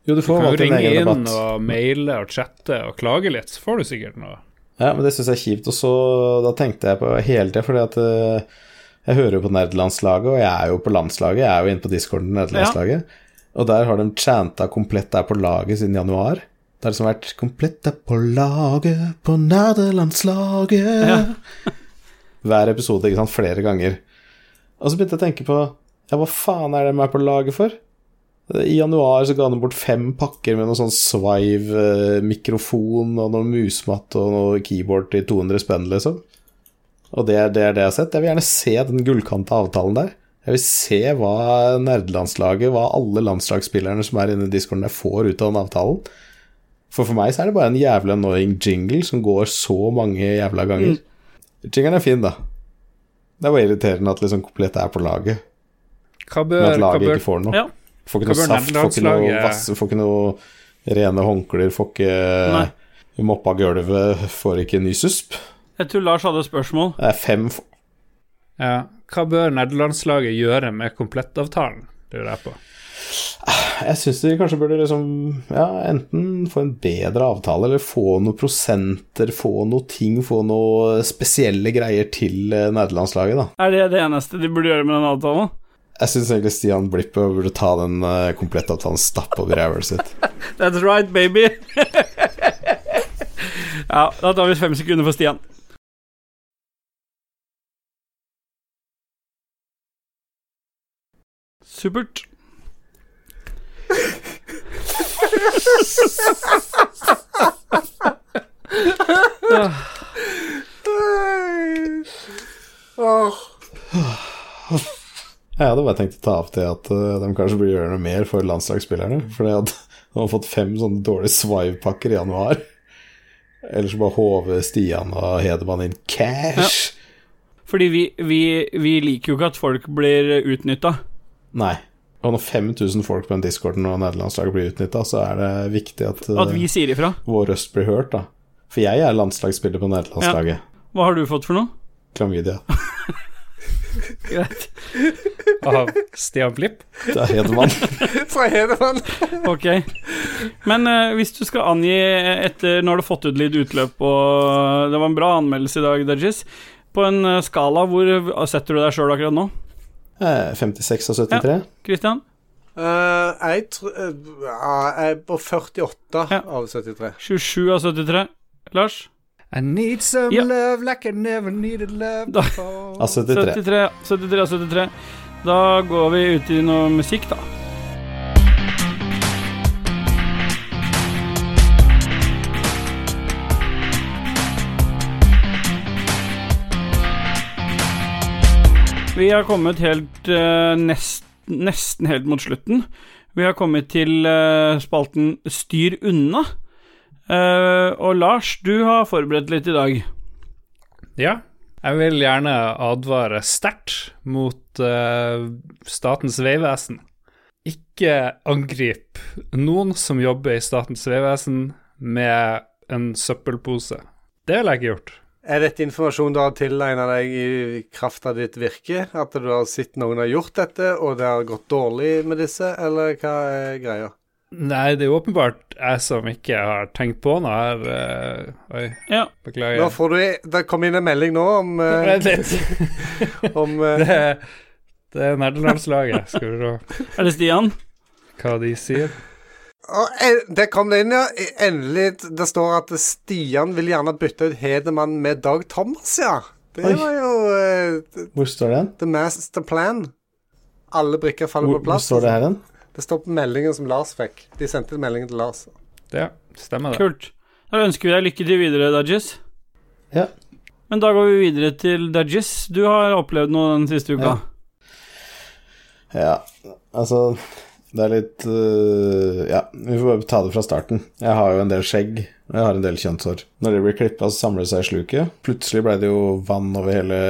Speaker 1: Jo, du får
Speaker 5: Kan jo
Speaker 1: valgt din
Speaker 5: ringe
Speaker 1: egen
Speaker 5: inn
Speaker 1: rabatt.
Speaker 5: og maile og chatte og klage litt, så får du sikkert noe.
Speaker 1: Ja, men det syns jeg er kjipt. Og så da tenkte jeg på hele tida, fordi at eh, jeg hører jo på nerdelandslaget, og jeg er jo på landslaget, jeg er jo inne på discorden til nerdelandslaget, og der har de chanta 'Komplett er på laget' siden januar. Det har liksom vært 'Komplett er på laget, på nerdelandslaget'
Speaker 3: Ja.
Speaker 1: (laughs) hver episode, ikke sant, flere ganger. Og så begynte jeg å tenke på Ja, hva faen er det de er på laget for? I januar så ga de bort fem pakker med noe sånn Svive-mikrofon og noe musmatt og noe keyboard til 200 spenn, liksom. Og det er det, er det jeg har sett. Jeg vil gjerne se den gullkanta avtalen der. Jeg vil se hva nerdelandslaget, hva alle landslagsspillerne som er inne i discorden der, får ut av den avtalen. For for meg så er det bare en jævla annoying jingle som går så mange jævla ganger. Jingeren er fin, da. Det er bare irriterende at liksom komplett er på laget,
Speaker 5: Hva
Speaker 1: men at
Speaker 5: bør, hva
Speaker 1: laget
Speaker 5: bør
Speaker 1: ikke får noe.
Speaker 3: Ja.
Speaker 1: Får ikke
Speaker 5: Hva
Speaker 1: noe
Speaker 5: bør
Speaker 1: saft, får ikke noe
Speaker 5: landslaget-
Speaker 1: vass, får ikke noe rene håndklær, får ikke
Speaker 3: eh, Nei.
Speaker 1: moppa gulvet, får ikke ny susp.
Speaker 3: Jeg tror Lars hadde et spørsmål.
Speaker 1: Det er fem f-
Speaker 5: ja, Hva bør nederlandslaget gjøre med komplettavtalen? Lurer jeg på.
Speaker 1: Jeg syns de kanskje burde liksom Ja, enten få en bedre avtale, eller få noen prosenter, få noe ting, få noe spesielle greier til eh, nederlandslaget, da.
Speaker 3: Er det det eneste de burde gjøre med den avtalen?
Speaker 1: Jeg syns egentlig Stian Blipp burde ta den eh, komplettavtalen stappe over ræva sitt.
Speaker 3: That's right, baby. (laughs) ja, da tar vi fem sekunder for Stian. Supert.
Speaker 4: Åh.
Speaker 1: Jeg hadde bare tenkt å ta opp til at eh, de kanskje burde gjøre noe mer for landslagsspillerne. For de har fått fem sånne dårlige swive-pakker i januar. Ellers bare håver Stian og Hedemann inn cash.
Speaker 3: Fordi vi, vi, vi liker jo ikke at folk blir utnytta.
Speaker 1: Nei. Og når 5000 folk på den discorden og nederlandslaget blir utnytta, så er det viktig at, eh,
Speaker 3: At vi sier ifra.
Speaker 1: vår røst blir hørt, da. For jeg er landslagsspiller på nederlandslaget.
Speaker 3: Hva har du fått for noe?
Speaker 1: Klamydia.
Speaker 3: Greit.
Speaker 5: Av Stian Blipp?
Speaker 1: Det er Hedemann.
Speaker 4: Fra Hedemann.
Speaker 3: (laughs) Ok. Men eh, hvis du skal angi etter Nå har du fått ut litt utløp, og det var en bra anmeldelse i dag, Dudgies. På en eh, skala, hvor setter du deg sjøl akkurat nå?
Speaker 1: Eh, 56 av 73.
Speaker 3: Christian?
Speaker 4: Eh, jeg tror ja, Jeg er på 48
Speaker 3: Ja.
Speaker 4: av 73.
Speaker 3: 27 av 73. Lars?
Speaker 6: I need some
Speaker 3: Ja.
Speaker 6: love like I never needed love
Speaker 3: Da-
Speaker 6: before.
Speaker 1: Av 73.
Speaker 3: 73 ja. 73 av 73. Da går vi ut i noe musikk, da. Vi har kommet helt eh, nest, nesten helt mot slutten. Vi har kommet til eh, spalten Styr unna. Eh, og Lars, du har forberedt litt i dag.
Speaker 5: (laughs) Ja. Jeg vil gjerne advare sterkt mot eh, Statens vegvesen. Ikke angrip noen som jobber i Statens vegvesen med en søppelpose. Det ville jeg ikke gjort.
Speaker 4: Er dette informasjon du har tilegna deg i kraft av ditt virke? At du har sett noen har gjort dette, og det har gått dårlig med disse, eller hva er greia?
Speaker 5: Nei, det er jo åpenbart jeg som ikke har tenkt på noe her. eh, oi,
Speaker 3: Ja.
Speaker 4: Nå
Speaker 5: beklager.
Speaker 4: får du Det kom inn en melding nå om, eh,
Speaker 5: Vent litt.
Speaker 4: om eh,
Speaker 5: (laughs) Det, det er nerdelandslaget. Skal vi se
Speaker 3: Er det Stian?
Speaker 5: hva de sier.
Speaker 4: Og en- Der kom eh, det inn, ja. Endelig. Det står at Stian vil gjerne bytte ut Hedemann med Dag Thomas, ja. Det
Speaker 1: Oi.
Speaker 4: var jo eh, the-
Speaker 1: Hvor står den?
Speaker 4: the master plan. Alle brikker faller
Speaker 1: Hvor,
Speaker 4: på
Speaker 1: hvor
Speaker 4: plass.
Speaker 1: står det her hen?
Speaker 4: Det står på meldingen som Lars fikk. De sendte en melding til Lars.
Speaker 5: Ja, stemmer det.
Speaker 3: Kult. Da ønsker vi deg lykke til videre, Dudgies.
Speaker 1: Ja.
Speaker 3: Men da går vi videre til Dudgies. Du har opplevd noe den siste uka.
Speaker 1: Ja, altså Det er litt øh, Ja, vi får bare ta det fra starten. Jeg har jo en del skjegg, og jeg har en del kjønnshår. Når det blir klippa, så samler det seg i sluket. Plutselig ble det jo vann over hele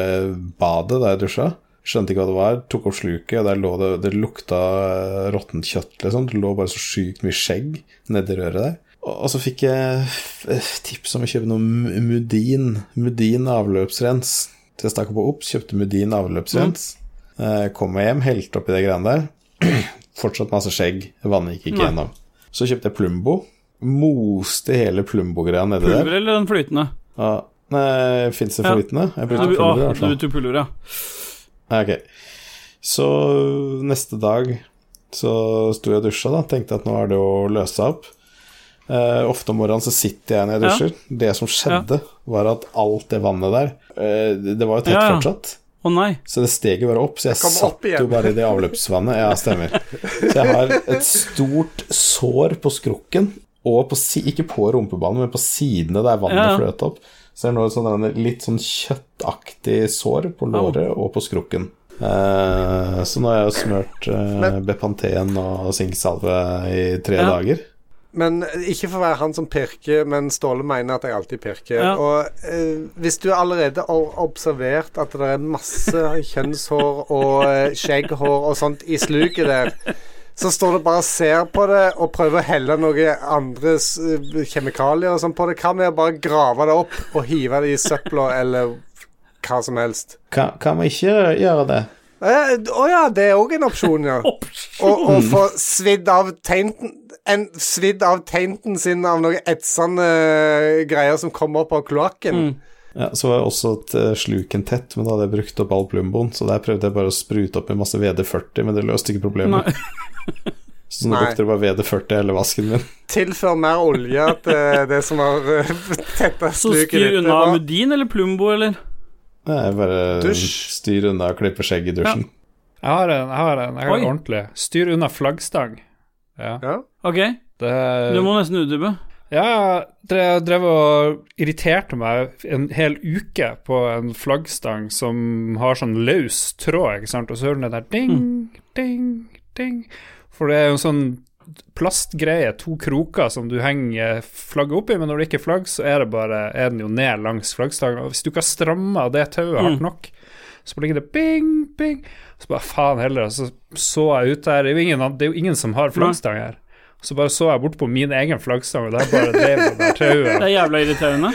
Speaker 1: badet da jeg dusja. Skjønte ikke hva det var, tok opp sluket, og der lå det Det lukta øh, råttent kjøtt, liksom. Det lå bare så sjukt mye skjegg nedi røret der. Og og så fikk jeg øh, tips om å kjøpe noe Mu- Mudin. Mudin avløpsrens. Så jeg stakk på Ops, kjøpte Mudin avløpsrens.
Speaker 3: Mm.
Speaker 1: Eh, Kom meg hjem, helte oppi det greiene der. (clears throat) Fortsatt masse skjegg. Vannet gikk ikke
Speaker 3: Nei.
Speaker 1: gjennom. Så kjøpte jeg Plumbo. Moste hele Plumbo-greia nedi
Speaker 3: Pulver
Speaker 1: der.
Speaker 3: eller den flytende?
Speaker 1: Ja. Nei, fins det
Speaker 3: Ja.
Speaker 1: flytende? Jeg
Speaker 3: Du,
Speaker 1: brukte pulver,
Speaker 3: å,
Speaker 1: i hvert
Speaker 3: du
Speaker 1: fall.
Speaker 3: tok pulver, altså. ja.
Speaker 1: Ja, Ok. Så neste dag så sto jeg og dusja, da. Tenkte at nå er det å løse seg opp. Eh, ofte om morgenen så sitter jeg når jeg
Speaker 3: Ja.
Speaker 1: dusjer. Det som skjedde, var at alt det vannet der eh, Det det var jo tett
Speaker 3: Ja, ja.
Speaker 1: fortsatt.
Speaker 3: Å nei.
Speaker 1: Så det steg jo bare opp, så jeg
Speaker 4: kom
Speaker 1: satt
Speaker 4: opp
Speaker 1: jo
Speaker 4: igjen.
Speaker 1: bare i det avløpsvannet. Ja, stemmer. Så jeg har et stort sår på skrukken, og på si ikke på rumpebanen, men på sidene der vannet
Speaker 3: Ja, ja.
Speaker 1: fløt opp. Så jeg har nå et sånn der litt sånn kjøttaktig sår på låret og på skrukken. Eh, så nå har jeg jo smørt eh, Bepanthen og sinksalve i tre
Speaker 3: Ja.
Speaker 1: dager.
Speaker 4: Men ikke for å være han som pirker, men Ståle mener at jeg alltid pirker.
Speaker 3: Ja.
Speaker 4: Og eh, hvis du allerede har observert at det er masse kjønnshår og eh, skjegghår og sånt i sluket der, så står du bare og ser på det og prøver å helle noe andre s- kjemikalier og sånn på det. Hva med å bare grave det opp og hive det i søpla eller hva som helst?
Speaker 1: Kan, kan vi ikke gjøre det?
Speaker 4: Å ja, å ja, det er òg en opsjon, ja. Og, og få svidd av tainten en, eh, Svidd av tainten sin av noen etsende greier som kommer opp av kloakken.
Speaker 1: Ja, så var jeg også et, eh, sluken tett, men da hadde jeg brukt opp all plumboen. Så der prøvde jeg bare å sprute opp i masse VD40, men det løste ikke problemet.
Speaker 3: Nei.
Speaker 1: (laughs) Så nå
Speaker 4: Nei.
Speaker 1: brukte det bare VD40 i hele vasken min.
Speaker 4: Tilfør mer olje til det som har eh, (laughs) tettet
Speaker 3: Så
Speaker 4: sluket
Speaker 3: styr
Speaker 4: ditt. Det
Speaker 3: unna
Speaker 4: var-
Speaker 3: med din eller Plumbo, eller?
Speaker 1: Jeg bare
Speaker 4: Dusj.
Speaker 1: styr unna og klipper skjegg i dusjen.
Speaker 5: Jeg har en, jeg har en, jeg har
Speaker 3: Oi.
Speaker 5: en ordentlig. Styr unna flaggstang. Ja.
Speaker 4: Ja.
Speaker 3: Ok,
Speaker 5: Det,
Speaker 3: du må nesten utdype.
Speaker 5: Ja, jeg drev og irriterte meg en hel uke på en flaggstang som har sånn løs tråd, ikke sant, og så hører du den der ding,
Speaker 3: Mm.
Speaker 5: ding, ding. For det er jo en sånn plastgreie, to kroker som du henger flagget oppi, men når det ikke er flagg, så er, det bare, er den jo ned langs flaggstangen. Og hvis du ikke har stramma det tauet hardt
Speaker 4: Mm.
Speaker 5: nok, så ligger det bing, bing. Så bare faen heller, og så så jeg ut der. Det er jo ingen, an- det er jo ingen som har flaggstang her. Så bare så jeg bort på min egen flaggstang, og der bare drev det der
Speaker 4: (laughs)
Speaker 3: Det
Speaker 5: tauet
Speaker 3: er jævla irriterende.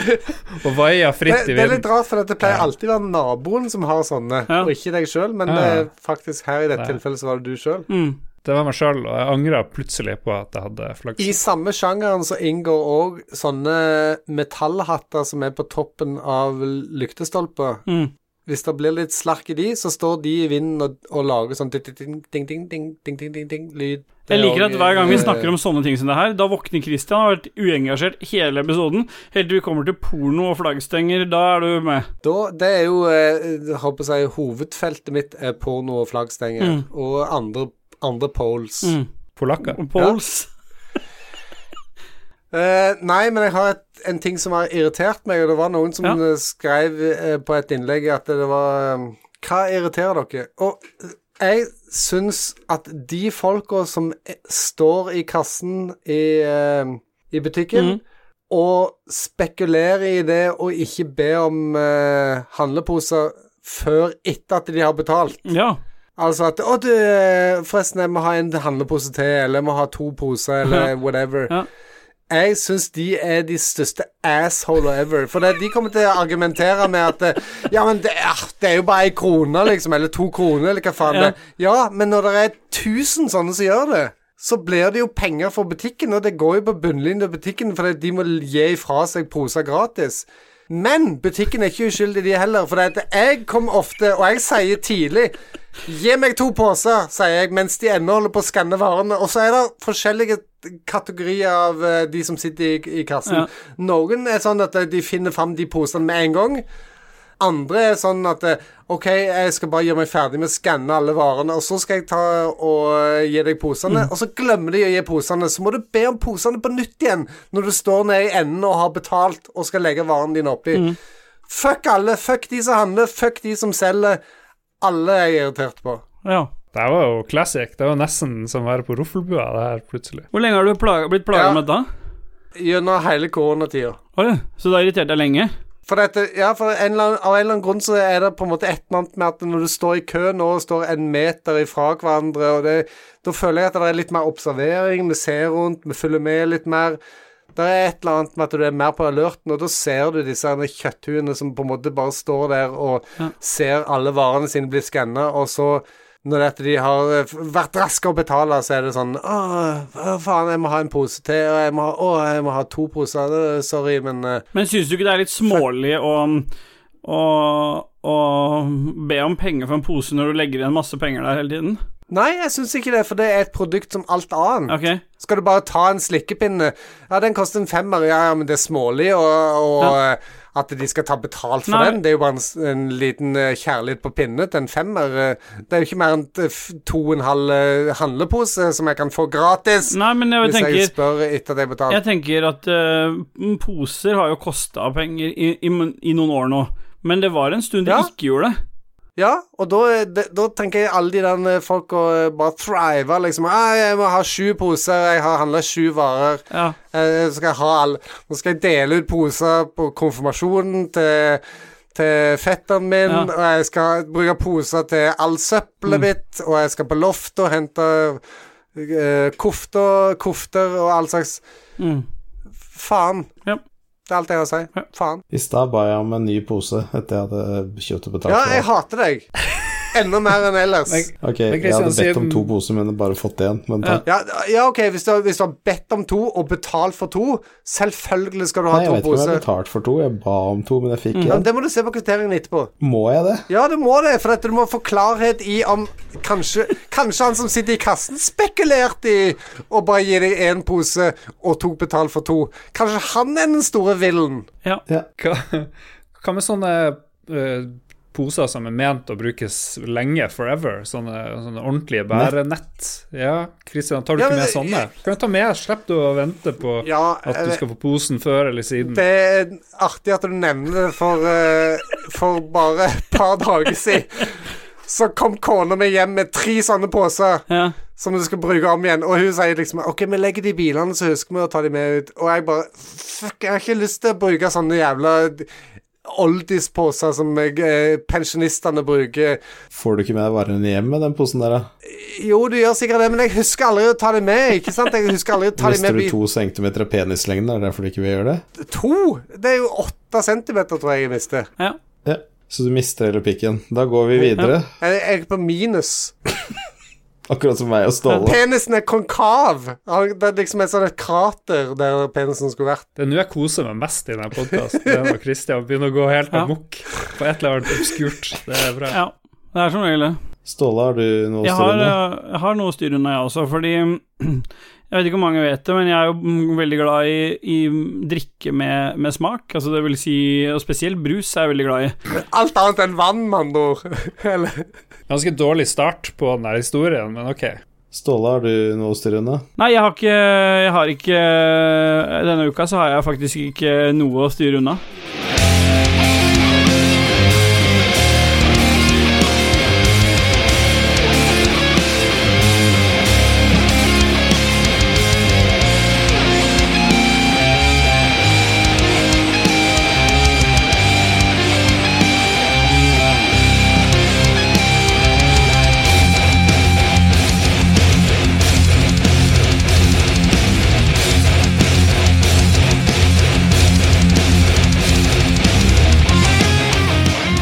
Speaker 5: og vaia
Speaker 4: Det,
Speaker 5: fritt
Speaker 4: det
Speaker 5: i
Speaker 4: er litt
Speaker 5: vinden.
Speaker 4: rart, for det pleier alltid å være naboen som har sånne,
Speaker 3: Ja.
Speaker 4: og ikke deg sjøl. Men
Speaker 5: Ja.
Speaker 4: eh, faktisk her i dette
Speaker 5: Ja.
Speaker 4: tilfellet så var det du sjøl.
Speaker 3: Mm.
Speaker 5: Det var meg sjøl, og jeg angra plutselig på at jeg hadde
Speaker 4: I
Speaker 5: flaggstang.
Speaker 4: samme sjangeren så inngår òg sånne metallhatter som er på toppen av lyktestolper.
Speaker 3: Mm.
Speaker 4: Hvis det blir litt slark i de, så står de i vinden og, og lager sånn ding-ding-ding-ding-ding-ding-lyd.
Speaker 3: Jeg liker at hver gang vi snakker om sånne ting som det her, da våkner Christian og har vært uengasjert hele episoden. Helt til vi kommer til porno og flaggstenger, da er du med.
Speaker 4: da, Det er jo eh, jeg håper jeg, hovedfeltet mitt er porno og flaggstenger. Og andre, andre poles.
Speaker 3: Mm.
Speaker 5: Polakker.
Speaker 3: Og Poles.
Speaker 4: Eh, nei, men jeg har et, en ting som har irritert meg, og det var noen som
Speaker 3: Ja.
Speaker 4: eh, skrev eh, på et innlegg at det var eh, Hva irriterer dere? Og eh, jeg syns at de folka som eh, står i kassen i, eh, i butikken og spekulerer i det og ikke ber om eh, handleposer før etter at de har betalt
Speaker 3: Ja.
Speaker 4: Altså at Å, du, eh, forresten, jeg må ha en handlepose til, eller jeg må ha to poser, eller whatever.
Speaker 3: Ja.
Speaker 4: Jeg syns de er de største assholer ever. For det, de kommer til å argumentere med at eh, Ja, men det er, det er jo bare ei krone, liksom. Eller to kroner, eller hva faen
Speaker 3: Ja.
Speaker 4: det er. Ja, men når det er tusen sånne som gjør det, så blir det jo penger for butikken, og det går jo på bunnlinjen til butikken, for de må gi ifra seg poser gratis. Men butikken er ikke uskyldig, de heller. For det at jeg kommer ofte, og jeg sier tidlig Gi meg to poser, sier jeg, mens de ennå holder på å skanne varene. Og så er det forskjellige kategorier av eh, de som sitter i, i kassen.
Speaker 3: Ja.
Speaker 4: Noen er sånn at eh, de finner fram de posene med en gang. Andre er sånn at eh, OK, jeg skal bare gjøre meg ferdig med å skanne alle varene, og så skal jeg ta og eh, gi deg posene. Og så glemmer de å gi posene. Så må du be om posene på nytt igjen når du står nede i enden og har betalt og skal legge varene dine oppi. Fuck alle. Fuck de som handler. Fuck de som selger. Alle er jeg irritert på.
Speaker 3: ja.
Speaker 5: Det her var jo classic. Det var nesten som å være på Roffelbua, det her, plutselig.
Speaker 3: Hvor lenge har du plaga, blitt plaga
Speaker 4: Ja.
Speaker 3: med dette?
Speaker 4: Gjennom hele koronatida.
Speaker 3: Oi, så det har irritert deg lenge?
Speaker 4: For, dette, ja, for en eller annen, av en eller annen grunn så er det på en måte et eller annet med at når du står i kø nå og står en meter ifra hverandre, og det, da føler jeg at det er litt mer observering, vi ser rundt, vi følger med litt mer. Det er et eller annet med at du er mer på alerten, og da ser du disse her kjøtthuene som på en måte bare står der og ser alle varene sine bli skanna, og så når det er at de har eh, f- vært raske å betale, så er det sånn Åh, hva faen, jeg må ha en pose til, og jeg må ha, åh, jeg må ha to poser, Eh, sorry, men eh,
Speaker 3: Men syns du ikke det er litt smålig å, å, å be om penger for en pose når du legger igjen masse penger der hele tiden?
Speaker 4: Nei, jeg syns ikke det, for det er et produkt som alt annet.
Speaker 3: Ok.
Speaker 4: Skal du bare ta en slikkepinne Ja, den koster en femmer, ja, ja, men det er smålig, og, og eh, at de skal ta betalt for
Speaker 3: Nei.
Speaker 4: den, det er jo bare en, s- en liten eh, kjærlighet på pinne til en femmer. eh. Det er jo ikke mer enn eh, f- to og en halv eh, handlepose som jeg kan få gratis
Speaker 3: Nei, men jeg
Speaker 4: hvis jeg
Speaker 3: tenker
Speaker 4: spør etter at jeg betaler.
Speaker 3: Jeg tenker at eh, poser har jo kosta penger i, i, i noen år nå, men det var en stund de
Speaker 4: Ja.
Speaker 3: ikke gjorde det.
Speaker 4: Ja, og da, er det- da tenker jeg alle de der eh, folka bare thriver, liksom. Ah, 'Jeg må ha sju poser, jeg har handla sju varer.'
Speaker 3: Ja.
Speaker 4: Eh, så skal jeg ha all, nå skal jeg dele ut poser på konfirmasjonen til, til fetteren min,
Speaker 3: Ja. Mm.
Speaker 4: og jeg skal bruke poser til all søppelet mitt, og jeg skal på loftet og hente eh, kofter, kofter og all slags
Speaker 3: Mm.
Speaker 4: Faen.
Speaker 3: Ja.
Speaker 4: Det er alt jeg har å si. Faen.
Speaker 1: I stad ba jeg om en ny pose etter jeg hadde kjøpt og betalt.
Speaker 4: Ja,
Speaker 1: for
Speaker 4: jeg
Speaker 1: alt.
Speaker 4: hater deg. Enda mer enn ellers.
Speaker 6: Men-
Speaker 1: Ok, jeg
Speaker 6: Christian,
Speaker 1: hadde bedt om
Speaker 6: siden-
Speaker 1: to poser, men bare fått én. Men takk.
Speaker 4: Ja, ja OK, hvis du, har- hvis du har bedt om to og betalt for to, selvfølgelig skal du ha
Speaker 1: Nei, jeg
Speaker 4: to
Speaker 1: vet ikke om jeg
Speaker 4: poser.
Speaker 1: betalte for to. Jeg ba om to, men jeg fikk én.
Speaker 4: Ja, men det må du se på kvitteringen etterpå.
Speaker 1: Må jeg det?
Speaker 4: Ja, du må det, for at du må få klarhet i om Kanskje, kanskje han som sitter i kassen, spekulerte i å bare gi deg én pose og tok betalt for to. Kanskje han er den store villen.
Speaker 5: Hva, hva med sånne eh, poser som er ment å brukes lenge, forever? Sånne, sånne ordentlige bærenett? Ja, Kristian, tar du
Speaker 4: Ja,
Speaker 5: ikke
Speaker 4: men
Speaker 5: med
Speaker 4: det-
Speaker 5: sånne? Kan du ta med? Slipp du å vente på
Speaker 4: Ja,
Speaker 5: at du
Speaker 4: eh,
Speaker 5: skal få posen før eller siden.
Speaker 4: Det er artig at du nevner det, for, eh, for bare et par dager siden så kom kona mi hjem med tre sånne poser
Speaker 3: Ja.
Speaker 4: som du skal bruke om igjen. Og hun sier liksom OK, vi legger de i bilene, så husker vi å ta de med ut. Og jeg bare Fuck, jeg har ikke lyst til å bruke sånne jævla oldiesposer som jeg, eh, pensjonistene bruker.
Speaker 1: Får du ikke med deg varene hjem med den posen der, da?
Speaker 4: Jo, du gjør sikkert det, men jeg husker aldri å ta de med, ikke sant? Jeg husker aldri å ta de
Speaker 1: Mister
Speaker 4: med
Speaker 1: du
Speaker 4: bi-
Speaker 1: to centimeter av penislengden, er det derfor du ikke vil gjøre det?
Speaker 4: to? Det er jo åtte centimeter, tror jeg jeg mister.
Speaker 3: ja.
Speaker 1: Ja. Så du mister hele pikken. Da går vi videre.
Speaker 4: Jeg jeg er på minus.
Speaker 1: Akkurat som meg og Ståle.
Speaker 4: Penisen er konkav. Han- Det er liksom et sånt et krater der penisen skulle vært.
Speaker 5: Det er nå jeg koser meg mest i denne podkasten. Det er når Kristian begynner å gå helt
Speaker 3: Ja.
Speaker 5: amok på et eller annet obskurt. Det er bra.
Speaker 3: ja. Det er som regel det.
Speaker 1: Ståle, har du noe å
Speaker 3: Jeg
Speaker 1: stå
Speaker 3: har,
Speaker 1: under?
Speaker 3: eh, jeg har noe styr unna, jeg også, fordi (clears throat) Jeg vet ikke om mange vet det, men jeg er jo mm, veldig glad i, i drikke med, med smak. Altså det vil si, og spesielt brus er jeg veldig glad i.
Speaker 4: Alt annet enn vann, med andre ord. (laughs) Eller-
Speaker 5: Ganske dårlig start på den her historien, men OK.
Speaker 1: Ståle, har du noe å styre unna?
Speaker 3: Nei, jeg har ikke, jeg har ikke eh, Denne uka så har jeg faktisk ikke noe å styre unna.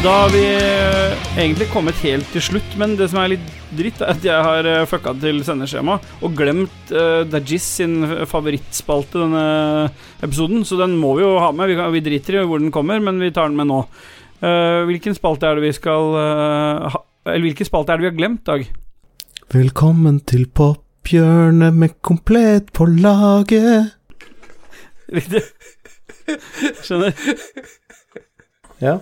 Speaker 3: Da har vi eh, egentlig kommet helt til slutt, men det som er litt dritt, er at jeg har eh, fucka til sendeskjema og glemt uh, Dajis sin favorittspalte denne episoden, så den må vi jo ha med. Vi, kan, vi driter i hvor den kommer, men vi tar den med nå. Eh, hvilken spalte er det vi skal eh, ha Eller hvilken spalte er det vi har glemt, Dag? (laughs)
Speaker 1: Velkommen til pophjørnet med komplett på laget.
Speaker 3: Riktig. Skjønner.
Speaker 1: Ja.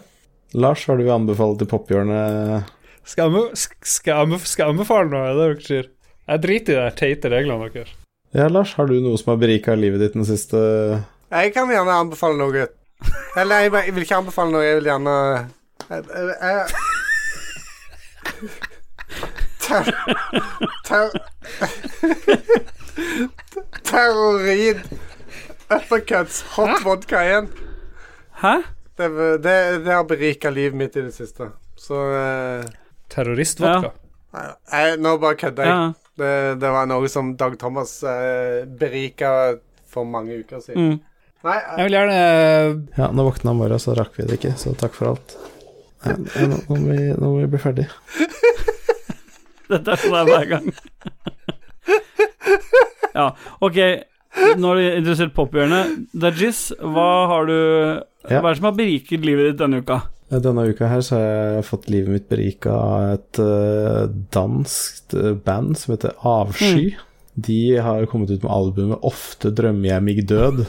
Speaker 1: Lars, har du anbefalt til pophjørnet?
Speaker 5: Skal jeg, anbe- skal, jeg anbe- skal jeg anbefale noe? Er det dere sier? Jeg driter i de her teite reglene deres.
Speaker 1: Ja, Lars, har du noe som har berika livet ditt den siste
Speaker 4: Jeg kan gjerne anbefale noe. Eller jeg, jeg vil ikke anbefale noe, jeg vil gjerne eh, jeg, jeg, jeg, Ter, ter, terrorid. Uppercuts. Hot vodka igjen.
Speaker 3: Hæ?
Speaker 4: Det, det, det har berika livet mitt i det siste. Så eh,
Speaker 5: Terroristvodka.
Speaker 4: nei, jeg, Nå bare kødder jeg.
Speaker 3: Ja.
Speaker 4: Det, det var noe som Dag Thomas eh, berika for mange uker siden.
Speaker 3: Mm.
Speaker 4: Nei, eh,
Speaker 5: Jeg vil gjerne eh,
Speaker 1: Ja, nå våkna han bare, så rakk vi det ikke, så takk for alt. Nei, Nå nå må vi, nå må vi bli ferdig.
Speaker 3: (laughs) Dette er sånn det er hver gang. ja, ok. Nå er du interessert i pophjørnet. Dajis, hva har du
Speaker 1: Ja.
Speaker 3: Hva er det som har beriket livet ditt denne uka? (laughs)
Speaker 1: Denne uka her så har jeg fått livet mitt berika av et eh, danskt eh, band som heter Avsky.
Speaker 3: Mm.
Speaker 1: De har kommet ut med albumet 'Ofte drømmer jeg mig død',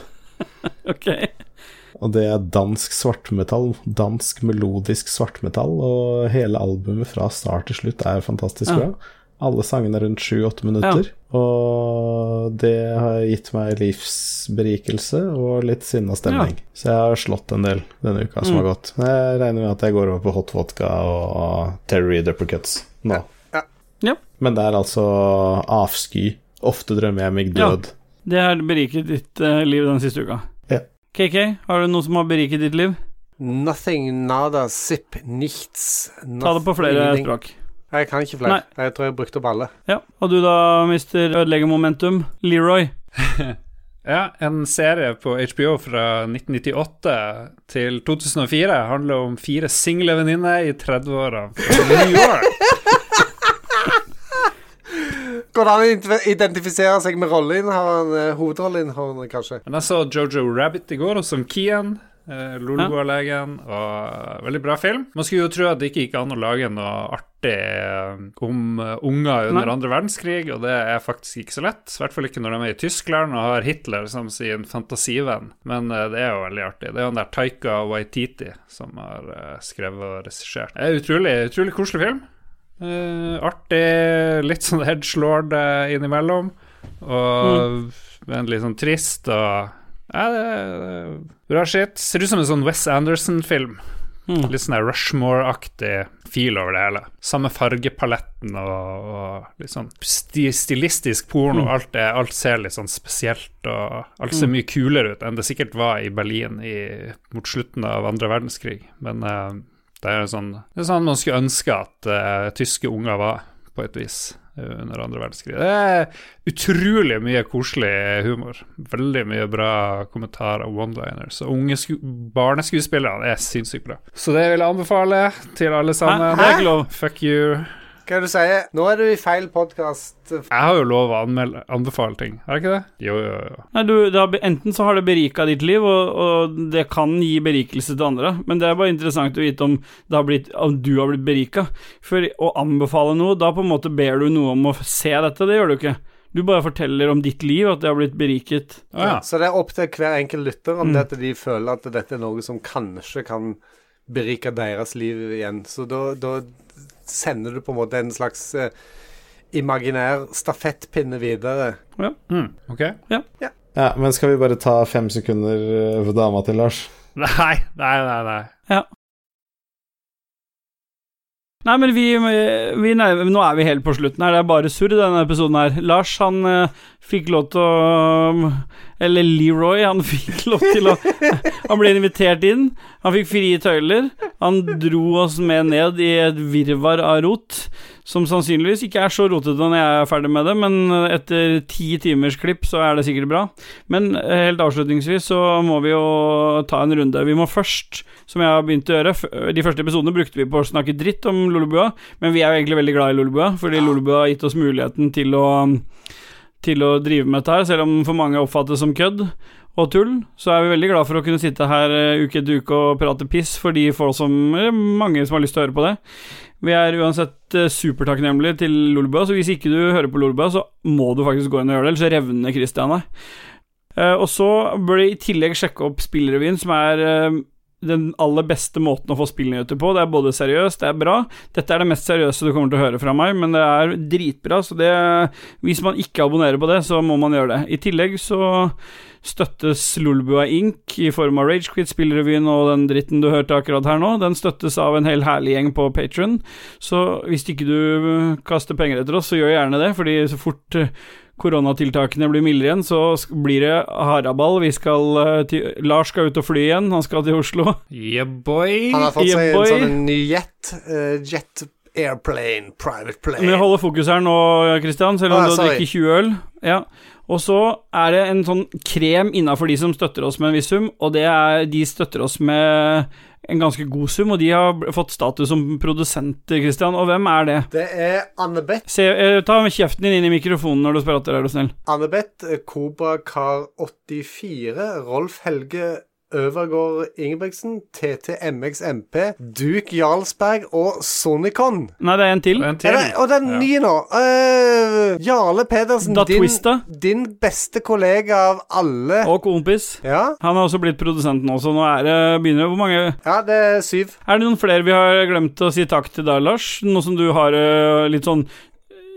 Speaker 3: Ok.
Speaker 1: og det er dansk svartmetall. Dansk melodisk svartmetall, og hele albumet fra start til slutt er fantastisk
Speaker 3: Ja.
Speaker 1: bra. Alle sangene er rundt sju-åtte minutter, og det har gitt meg livsberikelse og litt sinnastemning. Så jeg har slått en del denne uka
Speaker 3: Mm.
Speaker 1: som har gått. Men jeg regner med at jeg går over på hot vodka og Terry Duppercuts nå.
Speaker 4: Ja.
Speaker 3: Ja.
Speaker 1: Men det er altså avsky. Ofte drømmer jeg meg
Speaker 3: Ja.
Speaker 1: død.
Speaker 3: Det har beriket ditt eh, liv den siste uka.
Speaker 1: Ja.
Speaker 3: KK, har du noe som har beriket ditt liv?
Speaker 4: nothing, nada, zip, nichts.
Speaker 3: Ta det på flere
Speaker 4: nothing.
Speaker 3: språk.
Speaker 4: Jeg kan ikke flere. Jeg tror jeg brukte opp alle.
Speaker 3: Ja. Og du da, mister ødeleggermomentum, Leroy?
Speaker 5: eh, Ja, en serie på HBO fra 1998 til 2004 handler om fire single venninner i 30-åra fra New York.
Speaker 4: Går det an å ident- identifisere seg med rolleinnehaveren, eh, hovedrolleinnehaveren, kanskje?
Speaker 5: Men jeg så Jojo Rabbit i går, og som Kian. eh, Lolbua-legen. Og veldig bra film. Man skulle jo tro at det ikke gikk an å lage noe artig eh, om eh, unger under
Speaker 3: Nei.
Speaker 5: andre verdenskrig, og det er faktisk ikke så lett. I hvert fall ikke når de er i Tyskland og har Hitler som sin fantasivenn. Men eh, det er jo veldig artig. Det er jo han der Taika Waititi som har eh, skrevet og regissert. Det er utrolig, utrolig koselig film. Eh, artig, litt sånn edgelord eh, innimellom. Og men litt sånn trist og ja, det er Bra shit. Ser ut som en sånn Wes Anderson-film.
Speaker 3: Mm.
Speaker 5: Litt sånn der Rushmore-aktig feel over det hele. Samme fargepaletten og, og litt sånn sti stilistisk porno. Alt, er, alt ser litt sånn spesielt og alt ser mye kulere ut enn det sikkert var i Berlin i, mot slutten av andre verdenskrig. Men eh, det er jo sånn, det er sånn man skulle ønske at eh, tyske unger var, på et vis, eh, under andre verdenskrig. Det er utrolig mye koselig humor. Veldig mye bra kommentarer og one-liners. Og unge sku barneskuespillere er sinnssykt bra. Så det vil jeg anbefale til alle sammen.
Speaker 3: Det er ikke lov.
Speaker 5: Fuck you.
Speaker 4: Hva er det du sier? Nå er du i feil eh, podkast.
Speaker 5: Jeg har jo lov å anmelde, anbefale ting, har jeg ikke det? Jo, jo, jo.
Speaker 3: Nei, du, det har, be- enten så har det berika ditt liv, og, og det kan gi berikelse til andre, men det er bare interessant å vite om, det har blitt, om du har blitt berika. For å anbefale noe, da på en måte ber du noe om å se dette, det gjør du ikke. Du bare forteller om ditt liv, at det har blitt beriket.
Speaker 5: Å ja.
Speaker 4: Så det er opp til hver enkelt lytter
Speaker 3: Mm.
Speaker 4: om det at de føler at dette er noe som kanskje kan berike deres liv igjen. Så da, da sender du på en måte en slags eh, imaginær stafettpinne videre.
Speaker 5: Mm, ok.
Speaker 1: Ja, men skal vi bare ta fem sekunder eh, for dama til Lars?
Speaker 5: Nei, nei, nei. nei.
Speaker 3: Nei, men vi, vi nærmer, Nå er vi helt på slutten her, det er bare surr i denne episoden her. Lars, han eh, fikk lov til å mm, Eller Leroy, han (laughs) fikk lov til å Han ble invitert inn, han fikk frie tøyler. Han dro oss med ned i et virvar av rot, som sannsynligvis ikke er så rotete når jeg er ferdig med det, men etter ti timers klipp så er det sikkert bra. Men eh, helt avslutningsvis så må vi jo ta en runde. Vi må først, som jeg har begynt å gjøre f- De første episodene brukte vi på å snakke dritt om Lolebua, men vi er jo egentlig veldig glad i Lolebua, fordi Lolebua har gitt oss muligheten til å til å drive med dette her, selv om for mange oppfattes som kødd og tull, så er vi veldig glad for å kunne sitte her eh, uke etter uke og prate piss for de få som eh, Mange som har lyst til å høre på det. Vi er uansett eh, supertakknemlige til Lolebua, så hvis ikke du hører på Lolebua, så må du faktisk gå inn og gjøre det, ellers revner Christian deg. Eh, Og så bør du i tillegg sjekke opp Spillrevyen, som er eh, den aller beste måten å få spillnyheter på. Det er både seriøst, det er bra. Dette er det mest seriøse du kommer til å høre fra meg, men det er dritbra, så det Hvis man ikke abonnerer på det, så må man gjøre det. I tillegg så støttes Lolbua Inc. i form av Ragequit, Spillrevyen og den dritten du hørte akkurat her nå. Den støttes av en hel herlig gjeng på Patron, så hvis ikke du eh, kaster penger etter oss, så gjør gjerne det, fordi så fort eh, koronatiltakene blir mildere igjen, så sk- blir det haraball. Vi skal eh, til Lars skal ut og fly igjen, han skal til Oslo.
Speaker 5: Yeah, boy.
Speaker 4: Han har fått seg en
Speaker 3: Boy.
Speaker 4: sånn en ny jet. eh, jet airplane, private plane.
Speaker 3: Men jeg holder fokus her nå, Christian, selv om
Speaker 4: Ah,
Speaker 3: du
Speaker 4: sorry.
Speaker 3: drikker 20 øl. Ja. Og så er det en sånn krem innafor de som støtter oss med en viss sum, og det er de støtter oss med en ganske god sum, og de har bl- fått status som produsenter, Christian. Og hvem er det?
Speaker 4: Det er Anne-Beth.
Speaker 3: Se, eh, ta kjeften din inn i mikrofonen når du prater, er du snill.
Speaker 4: Anne-Beth eh, Cobra Kar 84. Rolf Helge Øvergård Ingebrigtsen. TTMXMP. Duke Jarlsberg og Sonicon.
Speaker 3: Nei, det er en til.
Speaker 5: En
Speaker 4: Er
Speaker 5: til.
Speaker 4: det, og den nye nå eh, Jarle Pedersen,
Speaker 3: Da
Speaker 4: din,
Speaker 3: Twista.
Speaker 4: din beste kollega av alle.
Speaker 3: Og kompis.
Speaker 4: Ja,
Speaker 3: Han har også blitt produsent nå, så nå er det begynner Hvor mange
Speaker 4: ja, det er syv.
Speaker 3: Er det noen flere vi har glemt å si takk til deg, Lars? Nå som du har eh, litt sånn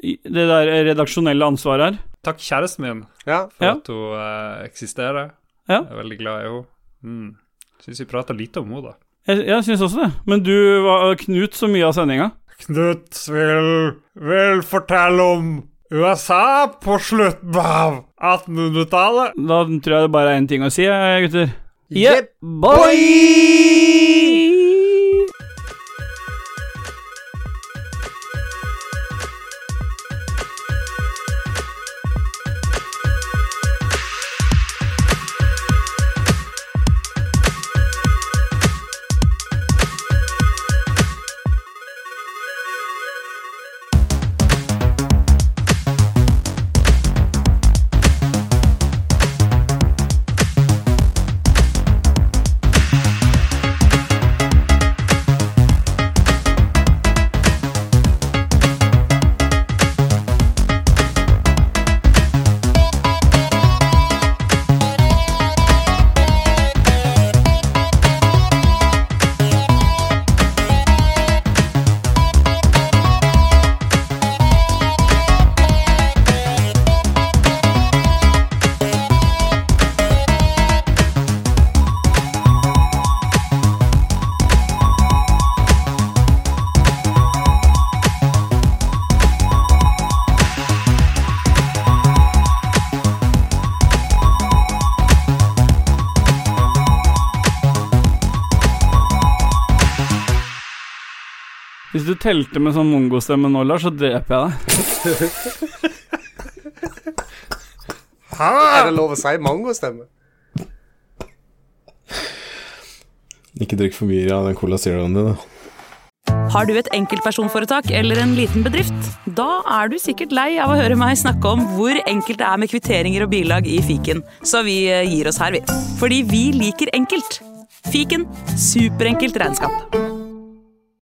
Speaker 3: i- det der redaksjonelle ansvaret her.
Speaker 5: Takk, kjæresten min,
Speaker 4: Ja.
Speaker 5: for
Speaker 3: Ja.
Speaker 5: at hun eh, eksisterer.
Speaker 3: Ja.
Speaker 5: Jeg er veldig glad i henne. Mm. Syns vi prater lite om henne, da.
Speaker 3: Jeg, jeg syns også det. Men du var Knut så mye av sendinga.
Speaker 5: Knut vil, vil fortelle om USA på slutten av 1800-tallet.
Speaker 3: Da tror jeg det bare er én ting å si, eh, gutter.
Speaker 4: Yep,
Speaker 3: boy! Hvis du telte med sånn mongostemme nå, Lars, så dreper jeg deg.
Speaker 4: Er det lov å si mangostemme?
Speaker 1: Ikke drikk for mye av den Cola Zeroen din. da.
Speaker 7: Har du et enkeltpersonforetak eller en liten bedrift? Da er du sikkert lei av å høre meg snakke om hvor enkelt det er med kvitteringer og bilag i fiken, så vi eh, gir oss her, vi. Fordi vi liker enkelt. Fiken superenkelt regnskap.